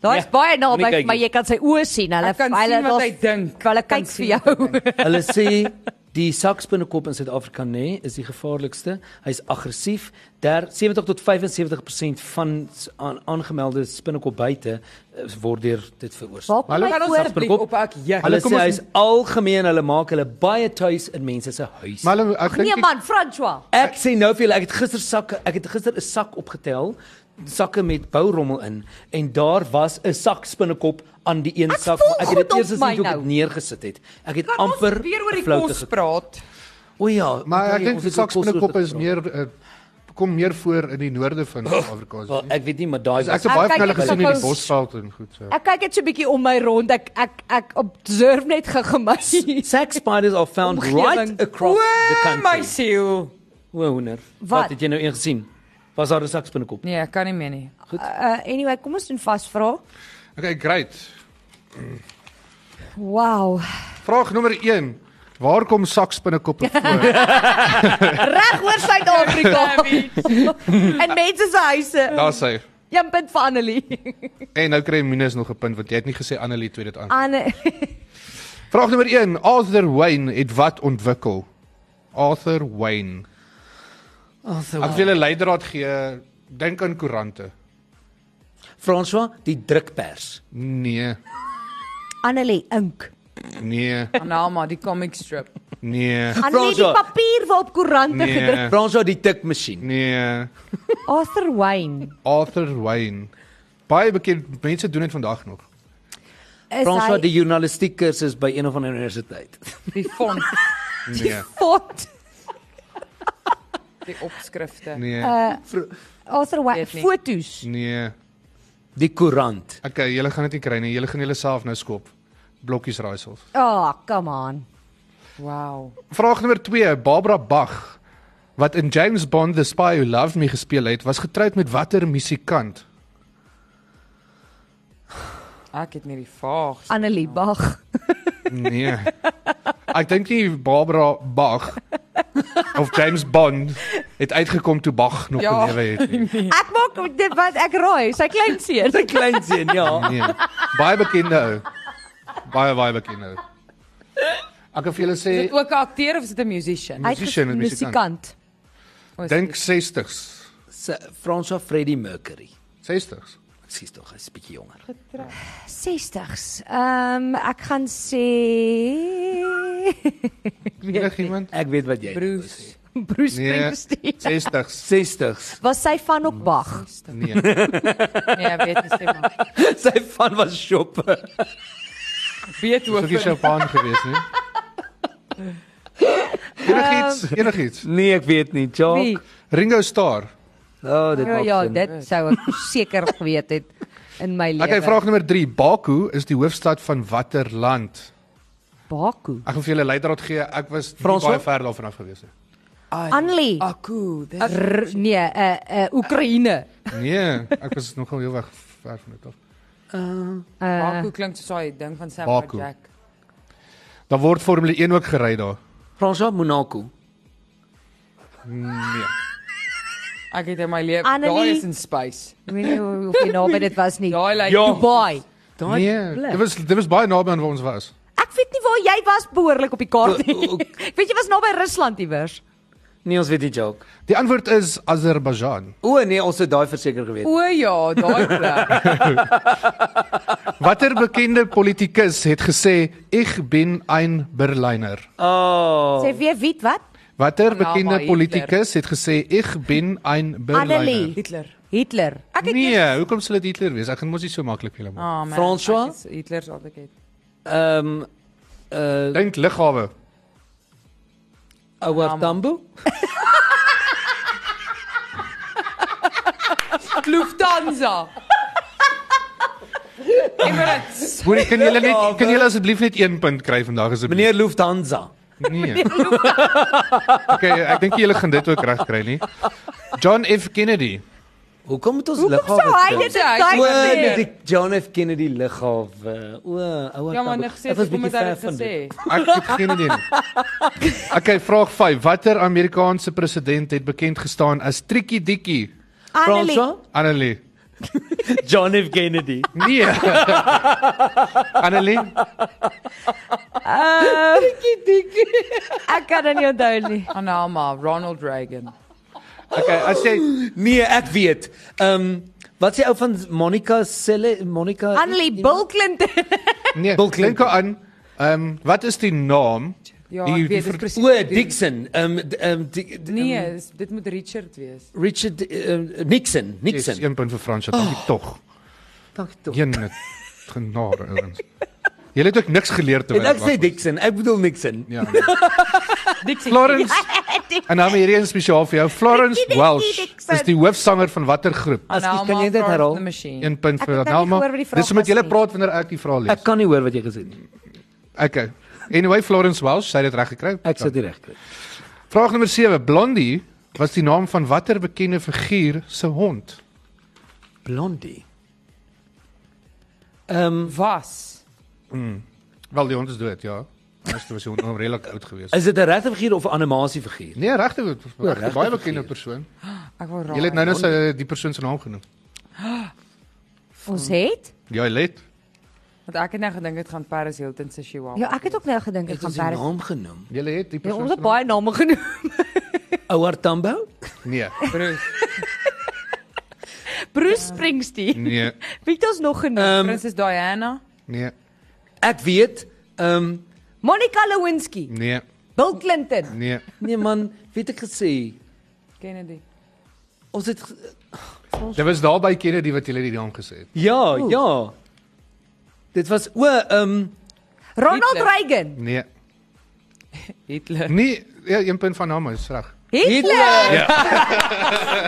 Speaker 1: Daar's
Speaker 4: Ja,
Speaker 1: baie
Speaker 4: moenie
Speaker 1: naby,
Speaker 4: kyk
Speaker 1: maar
Speaker 4: nie.
Speaker 1: jy kan sy oë sien. Hulle
Speaker 3: Ek kan sien wat hy
Speaker 1: daar's-
Speaker 3: dink.
Speaker 1: Hulle
Speaker 3: Kan
Speaker 1: kyk vir
Speaker 3: sien wat hy
Speaker 1: jou.
Speaker 4: Hulle sê die sakspinnekop in Suid-Afrika nê nee, is die gevaarlikste. Hy's aggressief. Daar 70 tot 75% van s- aan, aangemelde spinnekopbyte eh, word deur dit veroorsaak.
Speaker 1: Waar kom
Speaker 3: Kan
Speaker 1: my
Speaker 3: ons
Speaker 1: voor?
Speaker 3: asseblief op ek juk.
Speaker 4: Hulle
Speaker 2: kom
Speaker 4: sê
Speaker 2: ons-
Speaker 4: hy's algemeen, hulle maak hulle baie tuis in mense se huis.
Speaker 2: Maar hulle- ek
Speaker 1: Nee
Speaker 2: dink
Speaker 1: man, François.
Speaker 4: Ek sê nou vir julle, ek het gister sakke, ek het gister 'n sak opgetel, sakke met bourommel in en daar was 'n sak spinnekop aan die een
Speaker 1: Ek
Speaker 4: sak,
Speaker 1: voel
Speaker 4: ek het
Speaker 1: goed
Speaker 4: dit eers
Speaker 1: op
Speaker 4: gesien
Speaker 1: my
Speaker 4: toe ek
Speaker 1: nou.
Speaker 4: dit neergesit het. Ek het
Speaker 3: Kan ons
Speaker 4: amper
Speaker 3: weer oor die
Speaker 4: floute
Speaker 3: kos
Speaker 4: ge-
Speaker 3: praat.
Speaker 4: O ja,
Speaker 2: maar
Speaker 4: onthou
Speaker 2: ek
Speaker 4: jy,
Speaker 2: dink
Speaker 4: ons
Speaker 2: die
Speaker 4: het oor
Speaker 2: sakspinnekop
Speaker 4: kos
Speaker 2: is meer eh, kom meer voor in die noorde van Suid-Afrika.
Speaker 4: Wel,
Speaker 2: So
Speaker 4: ek weet nie, maar daai
Speaker 2: ek het
Speaker 4: was-
Speaker 1: Ek
Speaker 2: baie
Speaker 1: kyk
Speaker 2: van hulle
Speaker 1: ek Ah, is
Speaker 2: gesien in die
Speaker 1: ook al-
Speaker 2: bosveld en goed so.
Speaker 1: Ek kyk net so 'n bietjie om my rond. Ek ek ek observe net gegemis.
Speaker 4: sack spiders are found
Speaker 1: Omgewing.
Speaker 4: right across the
Speaker 3: O, my
Speaker 4: country.
Speaker 3: siel.
Speaker 4: Wonder.
Speaker 1: Wat?
Speaker 4: Wat het jy nou een gesien? Was daar 'n sak spinnekop?
Speaker 3: Nee, ek kan nie meer nie.
Speaker 1: Uh, anyway, kom ons doen vasvra.
Speaker 2: Okay, great.
Speaker 1: Wow.
Speaker 2: Vraag nommer 1. Waar kom sakspinnekoppe voor?
Speaker 1: Reg oor Suid-Afrika. en mense se huise.
Speaker 2: Daar sê.
Speaker 1: Een punt vir Annelie.
Speaker 2: En nou kry Minus nog 'n punt want jy het nie gesê Annelie twee dit aan.
Speaker 1: Anne
Speaker 2: Vraag nommer 1. Arthur Wayne het wat ontwikkel? Arthur Wayne. Ek wil julle leidraad gee. Dink aan koerante.
Speaker 4: François, die drukpers.
Speaker 2: Nee.
Speaker 1: Annelie ink.
Speaker 2: Nee.
Speaker 3: Anama, die comic strip.
Speaker 2: Nee.
Speaker 1: Annelie die
Speaker 4: Franso.
Speaker 1: papier waarop koerante nee. gedruk.
Speaker 2: Nee.
Speaker 4: François, die tikmasjien.
Speaker 2: Nee.
Speaker 1: Arthur Wayne.
Speaker 2: Arthur Wayne. Baie bekend mense doen dit vandag nog.
Speaker 1: Is
Speaker 4: François, die
Speaker 1: hy
Speaker 4: journalistiek kursus by een of ander universiteit.
Speaker 3: Die font,
Speaker 2: Nee.
Speaker 1: fort?
Speaker 3: die opskrifte.
Speaker 2: Nee.
Speaker 1: Uh, Arthur Wayne
Speaker 3: Weet nie.
Speaker 1: fotos.
Speaker 2: Nee.
Speaker 4: Die koerant.
Speaker 2: Okay, julle gaan dit nie kry nie. Julle gaan julle self nou skop. Blokkies raaisels.
Speaker 1: Oh, come on.
Speaker 3: Wow.
Speaker 2: Vraag nommer 2, Barbara Bach wat in James Bond The Spy Who Loved Me gespeel het, was getroud met watter musikant?
Speaker 3: Ek het nie die vaag.
Speaker 1: Annelie Bach.
Speaker 2: Nee. Ek dink nie Barbara Bach of James Bond het uitgekom toe Bach nog
Speaker 3: Ja.
Speaker 2: gelewe het nie.
Speaker 1: Ek maak dit wat ek raai, sy kleinseun.
Speaker 4: Sy kleinseun, ja.
Speaker 2: Nee. Baie bekende ou. Baie baie bekende ou. Ek kan vir julle sê
Speaker 3: Is dit ook 'n akteur of is dit 'n musician?
Speaker 2: Hy- Musician en
Speaker 1: musikant.
Speaker 2: musikant.
Speaker 3: O, is
Speaker 2: dink
Speaker 3: dit-
Speaker 2: 60s.
Speaker 4: Sy François Freddie Mercury.
Speaker 2: 60s.
Speaker 4: Ek sien tog hy's 'n bietjie jonger.
Speaker 1: 60s. Ehm um, ek gaan sê
Speaker 2: Enig iemand?
Speaker 4: Ek weet wat jy
Speaker 3: Bruce.
Speaker 1: Bruce
Speaker 2: Nee.
Speaker 1: Springsteen.
Speaker 2: 60s.
Speaker 4: 60s.
Speaker 1: Was sy van ook Bach?
Speaker 2: Nee.
Speaker 3: Nee, ek weet nie sê maar.
Speaker 4: Sy van was shopper.
Speaker 2: Sou nie
Speaker 3: Beethoven.
Speaker 2: champagne gewees nie. Enigiets, enigiets.
Speaker 4: Nee, ek weet nie,
Speaker 1: Wie?
Speaker 4: Jock.
Speaker 2: Ringo Starr.
Speaker 4: Oh, dit
Speaker 1: Ja,
Speaker 4: maak
Speaker 1: ja,
Speaker 4: sin.
Speaker 1: dit sou ek seker geweet het in my lewe.
Speaker 2: Okay, vraag nommer 3. Baku is die hoofstad van watter land?
Speaker 1: Baku.
Speaker 2: Ek gaan vir julle leidraad gee. Ek was nie
Speaker 4: Frans,
Speaker 2: baie
Speaker 4: hoor?
Speaker 2: ver daarvan af gewees nie.
Speaker 1: Annelie.
Speaker 3: Ah, cool. Dis
Speaker 1: R nee, eh eh Oekraïne.
Speaker 2: Nee, ek was nogal heel weg ver van dit af.
Speaker 1: Eh
Speaker 3: Baku klink soos daai ding van Sam
Speaker 2: Baku.
Speaker 3: Jack.
Speaker 2: Daar word Formule 1 ook gery daar.
Speaker 4: François Monaco.
Speaker 2: Nee.
Speaker 3: Ek het in my lewe
Speaker 1: Annelie-
Speaker 3: daai is in space.
Speaker 1: ek weet nie hoe- hoe naby dit was nie.
Speaker 3: Daai lyk
Speaker 4: Ja.
Speaker 1: Dubai.
Speaker 4: Daai
Speaker 2: Nee, dit was dit was baie naby aan waar ons was.
Speaker 1: Ek weet nie waar jy was behoorlik op die kaart nie.
Speaker 4: O- o-
Speaker 1: Ek weet jy was naby Rusland iewers.
Speaker 4: Nee, ons weet nie, Jock.
Speaker 2: Die antwoord is Azerbeidjan.
Speaker 4: O nee, ons het daai verseker geweet.
Speaker 3: O ja, daai plek.
Speaker 2: Watter bekende politikus het gesê ek bin ein Berliner?
Speaker 4: Oh.
Speaker 1: Sê weer wie wat?
Speaker 2: Watter
Speaker 3: Nou, maar
Speaker 2: bekende
Speaker 3: Hitler.
Speaker 2: politikus het gesê ek bin ein Berliner?
Speaker 1: Annelie.
Speaker 3: Hitler.
Speaker 1: Hitler.
Speaker 3: Ek het
Speaker 2: Nee, hoekom sou dit Hitler wees? Ek gaan mos nie so maklik vir julle maak.
Speaker 3: Ah, man,
Speaker 4: François?
Speaker 3: ek is Hitler se advokaat.
Speaker 4: Ehm uh
Speaker 2: Dink liggawe.
Speaker 4: ouer Tambo?
Speaker 3: Lufthansa. Emirates.
Speaker 2: Hoor ek kan julle net kan julle asseblief net 1 punt kry vandag asseblief.
Speaker 4: Meneer Lufthansa.
Speaker 2: Nee. Okay, ek dink julle gaan dit ook reg kry nie. John F Kennedy.
Speaker 4: Hoekom moet ons
Speaker 1: Hoekom sou hy dit
Speaker 4: kry?
Speaker 3: Ja,
Speaker 1: daai
Speaker 3: ek
Speaker 1: tyd
Speaker 4: O,
Speaker 3: weet
Speaker 4: nee,
Speaker 1: doen?
Speaker 4: die John F Kennedy lughawe. O, ouer
Speaker 3: Ja, maar niks sê
Speaker 4: Ek was
Speaker 3: kom dit
Speaker 4: bietjie ver
Speaker 3: uit
Speaker 4: van
Speaker 3: gesê.
Speaker 4: dit.
Speaker 2: Ek het geen idee nie. Okay, vraag 5. Watter Amerikaanse president het bekend gestaan as Trikkie Dikkie?
Speaker 1: Annelie.
Speaker 4: François?
Speaker 2: Annelie.
Speaker 4: John F Kennedy.
Speaker 2: Nee. Annelie,
Speaker 1: Dikkie dikkie. Ek kan dit nie onthou nie.
Speaker 3: Anama, Ronald Reagan.
Speaker 2: okay, as jy
Speaker 4: Nee, ek weet. Ehm wat sê ou van Monica Selle Monica
Speaker 1: Annelie Bill Clinton.
Speaker 2: nee,
Speaker 4: Bill Clinton.
Speaker 2: dink aan, ehm um, wat is die naam?
Speaker 3: Ja,
Speaker 2: Die- die
Speaker 3: ek weet
Speaker 2: ver-
Speaker 3: dis presies.
Speaker 4: O, Dixon. Ehm d- ehm di- d-
Speaker 3: Nee,
Speaker 4: ehm,
Speaker 3: dis- dit moet Richard wees.
Speaker 4: Richard ehm, Nixon,
Speaker 2: Dis
Speaker 4: Nixon.
Speaker 2: 1 punt vir Frans, dankie
Speaker 1: Oh.
Speaker 2: tog.
Speaker 4: Dankie tog.
Speaker 2: Een genade ouens. Jy het ook niks geleer te
Speaker 4: En ek sê Dixon, ek bedoel Nixon.
Speaker 1: Nou,
Speaker 2: Ja.
Speaker 3: Dixie.
Speaker 2: Florence
Speaker 1: Ja,
Speaker 2: en nou hier een spesiaal vir jou. Florence
Speaker 1: Dikkie, dikkie,
Speaker 2: Welsh
Speaker 1: Dixon.
Speaker 2: is die hoofsanger van watter groep?
Speaker 4: As jy
Speaker 3: Anama,
Speaker 4: kan jy dit
Speaker 3: Florence
Speaker 4: herhaal?
Speaker 3: the Machine.
Speaker 2: 1 punt
Speaker 1: Ek
Speaker 2: vir
Speaker 1: het nou nie
Speaker 2: Nelma.
Speaker 1: gehoor wat die vraag
Speaker 2: Dis hoe met
Speaker 1: was
Speaker 2: julle
Speaker 1: nie.
Speaker 2: praat wanneer ek die vraag
Speaker 4: Ek
Speaker 2: lees.
Speaker 4: kan nie hoor wat jy gesê het nie.
Speaker 2: Okay. Anyway, Florence Welsh, sy het dit reg gekry.
Speaker 4: Ek sit hier reg kry.
Speaker 2: Vraag nommer 7. Blondie was die naam van watter bekende figuur se hond?
Speaker 4: Blondie. Ehm
Speaker 3: Was.
Speaker 2: Wel, die hond is dood, ja. Ons was hond nog redelik oud geweest.
Speaker 4: is dit 'n regte figuur of 'n animasie figuur?
Speaker 2: Nee, regtig, dit was
Speaker 4: regte
Speaker 2: regtig baie bekende
Speaker 4: figuur.
Speaker 2: persoon.
Speaker 3: Ek wou raai.
Speaker 2: Jy het nou net sy die persoon se naam genoem.
Speaker 1: Ons het?
Speaker 2: Ja, jy het.
Speaker 3: want ek het nou gedink dit gaan Paris Hilton se Chihuahua.
Speaker 1: Ja, ek het ook nou gedink ek
Speaker 4: Ek het
Speaker 1: gaan
Speaker 4: sy
Speaker 1: Paris.
Speaker 4: naam genoem.
Speaker 2: Jy het die
Speaker 1: Ja,
Speaker 2: persoon.
Speaker 1: ons
Speaker 2: se
Speaker 1: het baie name genoem.
Speaker 4: Ouer Tambo?
Speaker 2: naam- Nee.
Speaker 3: Bruce.
Speaker 1: Bruce Springsteen.
Speaker 2: Nee.
Speaker 1: Wie het ons nog genoem?
Speaker 4: Ehm
Speaker 3: Prinses Diana.
Speaker 2: Nee.
Speaker 4: ek weet, ehm um,
Speaker 1: Monica Lewinsky,
Speaker 2: Nee.
Speaker 1: Bill Clinton.
Speaker 2: Nee.
Speaker 4: nee man, weet ek gesê,
Speaker 3: Kennedy.
Speaker 4: ons het ge-
Speaker 2: Dit was daar by Kennedy wat jy die naam gesê het.
Speaker 4: ja, Oeh. ja. Dit was o, ehm um,
Speaker 1: Ronald
Speaker 3: Hitler.
Speaker 1: Reagan.
Speaker 2: Nee.
Speaker 3: Hitler.
Speaker 2: Nee, ja, een punt van naam is reg.
Speaker 1: Hitler.
Speaker 4: Ja.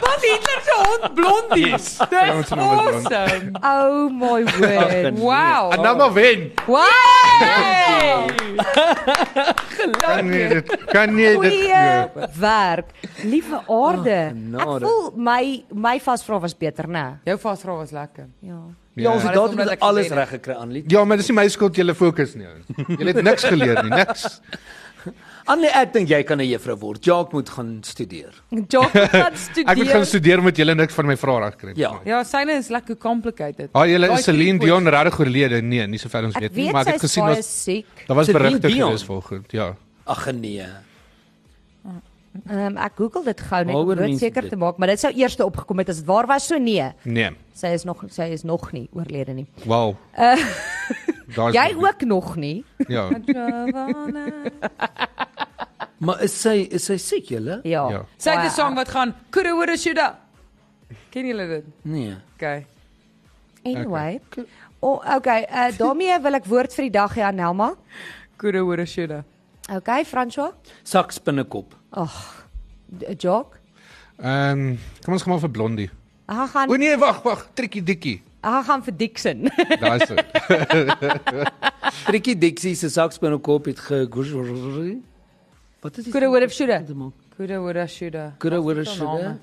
Speaker 3: Wat Hitler se hond blondie.
Speaker 2: Yes.
Speaker 3: Dis
Speaker 2: Ons het nou met blond.
Speaker 3: awesome.
Speaker 1: Oh my word.
Speaker 3: Wow.
Speaker 2: Anama wen.
Speaker 1: Wow!
Speaker 2: Kan nie dit kan nie dit nee. glo.
Speaker 1: Goeie werk. Liewe aarde.
Speaker 2: Ah,
Speaker 1: Ek
Speaker 4: genade.
Speaker 1: voel my my vasvra was beter, né?
Speaker 3: Jou vasvra was lekker.
Speaker 1: Ja.
Speaker 4: Ja, ons
Speaker 2: Ja.
Speaker 4: het
Speaker 3: Maar dis
Speaker 4: datum
Speaker 3: omdat
Speaker 4: met
Speaker 3: ek
Speaker 4: alles
Speaker 3: gewen het.
Speaker 4: reg gekry aan Liet.
Speaker 2: Ja, maar dis nie my skuld jy lê fokus nie. Jy het niks geleer nie, niks.
Speaker 4: Anne, ek dink jy kan 'n juffrou word. Jacques moet gaan studeer.
Speaker 1: Jock gaan studeer.
Speaker 2: Ek moet gaan studeer met julle niks van my vrae reg kry.
Speaker 4: Ja.
Speaker 3: Ja, syne is lekker complicated.
Speaker 2: Ah, julle is
Speaker 3: Daai
Speaker 2: Celine
Speaker 3: three
Speaker 2: Dion regtig oorlede? Nee, nie sover ons
Speaker 1: Ek
Speaker 2: weet nie,
Speaker 1: weet
Speaker 2: maar
Speaker 1: sy
Speaker 2: ek het
Speaker 1: is
Speaker 2: gesien
Speaker 1: baie
Speaker 2: was
Speaker 1: siek.
Speaker 2: daar was
Speaker 4: Celine
Speaker 2: berigte
Speaker 4: Dion.
Speaker 2: gewees vanoggend. Ja.
Speaker 4: Ag nee.
Speaker 1: Ehm um, ek Google dit gou net
Speaker 4: Waaroor
Speaker 1: om
Speaker 4: mense
Speaker 1: dit seker
Speaker 4: dit-
Speaker 1: te maak, maar dit sou eers opgekom het as dit waar was, so nee.
Speaker 2: Nee.
Speaker 1: Sy is nog sy is nog nie oorlede nie.
Speaker 2: Wow. Daar's
Speaker 1: Jy
Speaker 2: nog nie.
Speaker 1: ook nog nie.
Speaker 2: Ja.
Speaker 4: Maar is sy is sy siek julle?
Speaker 1: Ja.
Speaker 2: Ja.
Speaker 1: ja.
Speaker 3: points. Sy het 'n song wat gaan Kurowere Shuda. Ken julle dit?
Speaker 4: Nee.
Speaker 3: Okay.
Speaker 1: Anyway. O, oh, okay, uh, daarmee wil ek woord vir die dag hê aan Nelma.
Speaker 3: Kurowere Shuda.
Speaker 1: Okay, François.
Speaker 4: Sak spinnekop.
Speaker 1: Ag. d- eh, Jock.
Speaker 2: Ehm, kom ons gaan maar vir Blondie.
Speaker 1: Hy
Speaker 2: O
Speaker 1: gaan
Speaker 2: nee, wag, wag, Trikkie Dikkie.
Speaker 1: hy gaan vir Dixon.
Speaker 2: Daai se.
Speaker 4: Trikkie Dixie se sak spinnekop het ge Wat is dit?
Speaker 1: Koede hoor of shoede.
Speaker 3: Kurowere Shuda.
Speaker 4: Koede hoor of
Speaker 3: Wat is haar
Speaker 4: shoede.
Speaker 3: name?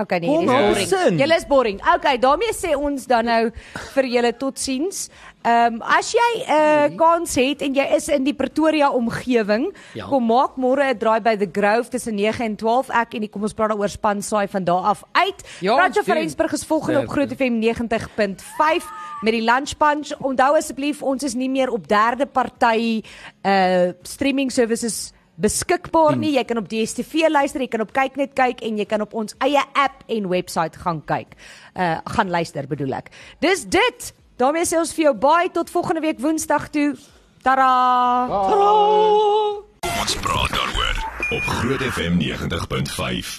Speaker 1: Okay nee,
Speaker 4: Kom,
Speaker 1: julle
Speaker 4: hou
Speaker 1: is boring.
Speaker 4: sin.
Speaker 1: Julle is boring. Okay, daarmee sê ons dan nou vir julle totsiens. Ehm as jy 'n uh, kans het en jy is in die Pretoria omgewing,
Speaker 4: Ja.
Speaker 1: kom maak môre 'n draai by the Grove tussen 9 en 12. Ek en die kom ons praat daaroor span saai van daar af uit.
Speaker 3: Ja, ons
Speaker 1: Radio
Speaker 3: doen.
Speaker 1: Verensburg is volgende op
Speaker 4: Ja,
Speaker 1: Groot FM 90.5 met die Lunch Punch. Onthou asseblief, ons is nie meer op derde party uh streaming services beskikbaar nie. Jy kan op DStv luister, jy kan op Kyknet kyk en jy kan op ons eie app en webwerf gaan kyk. Uh gaan luister bedoel ek. Dis dit. daarmee sê ons vir jou baie tot volgende week Woensdag toe. Tada!
Speaker 5: Kom ons praat daaroor op Groot FM 90.5.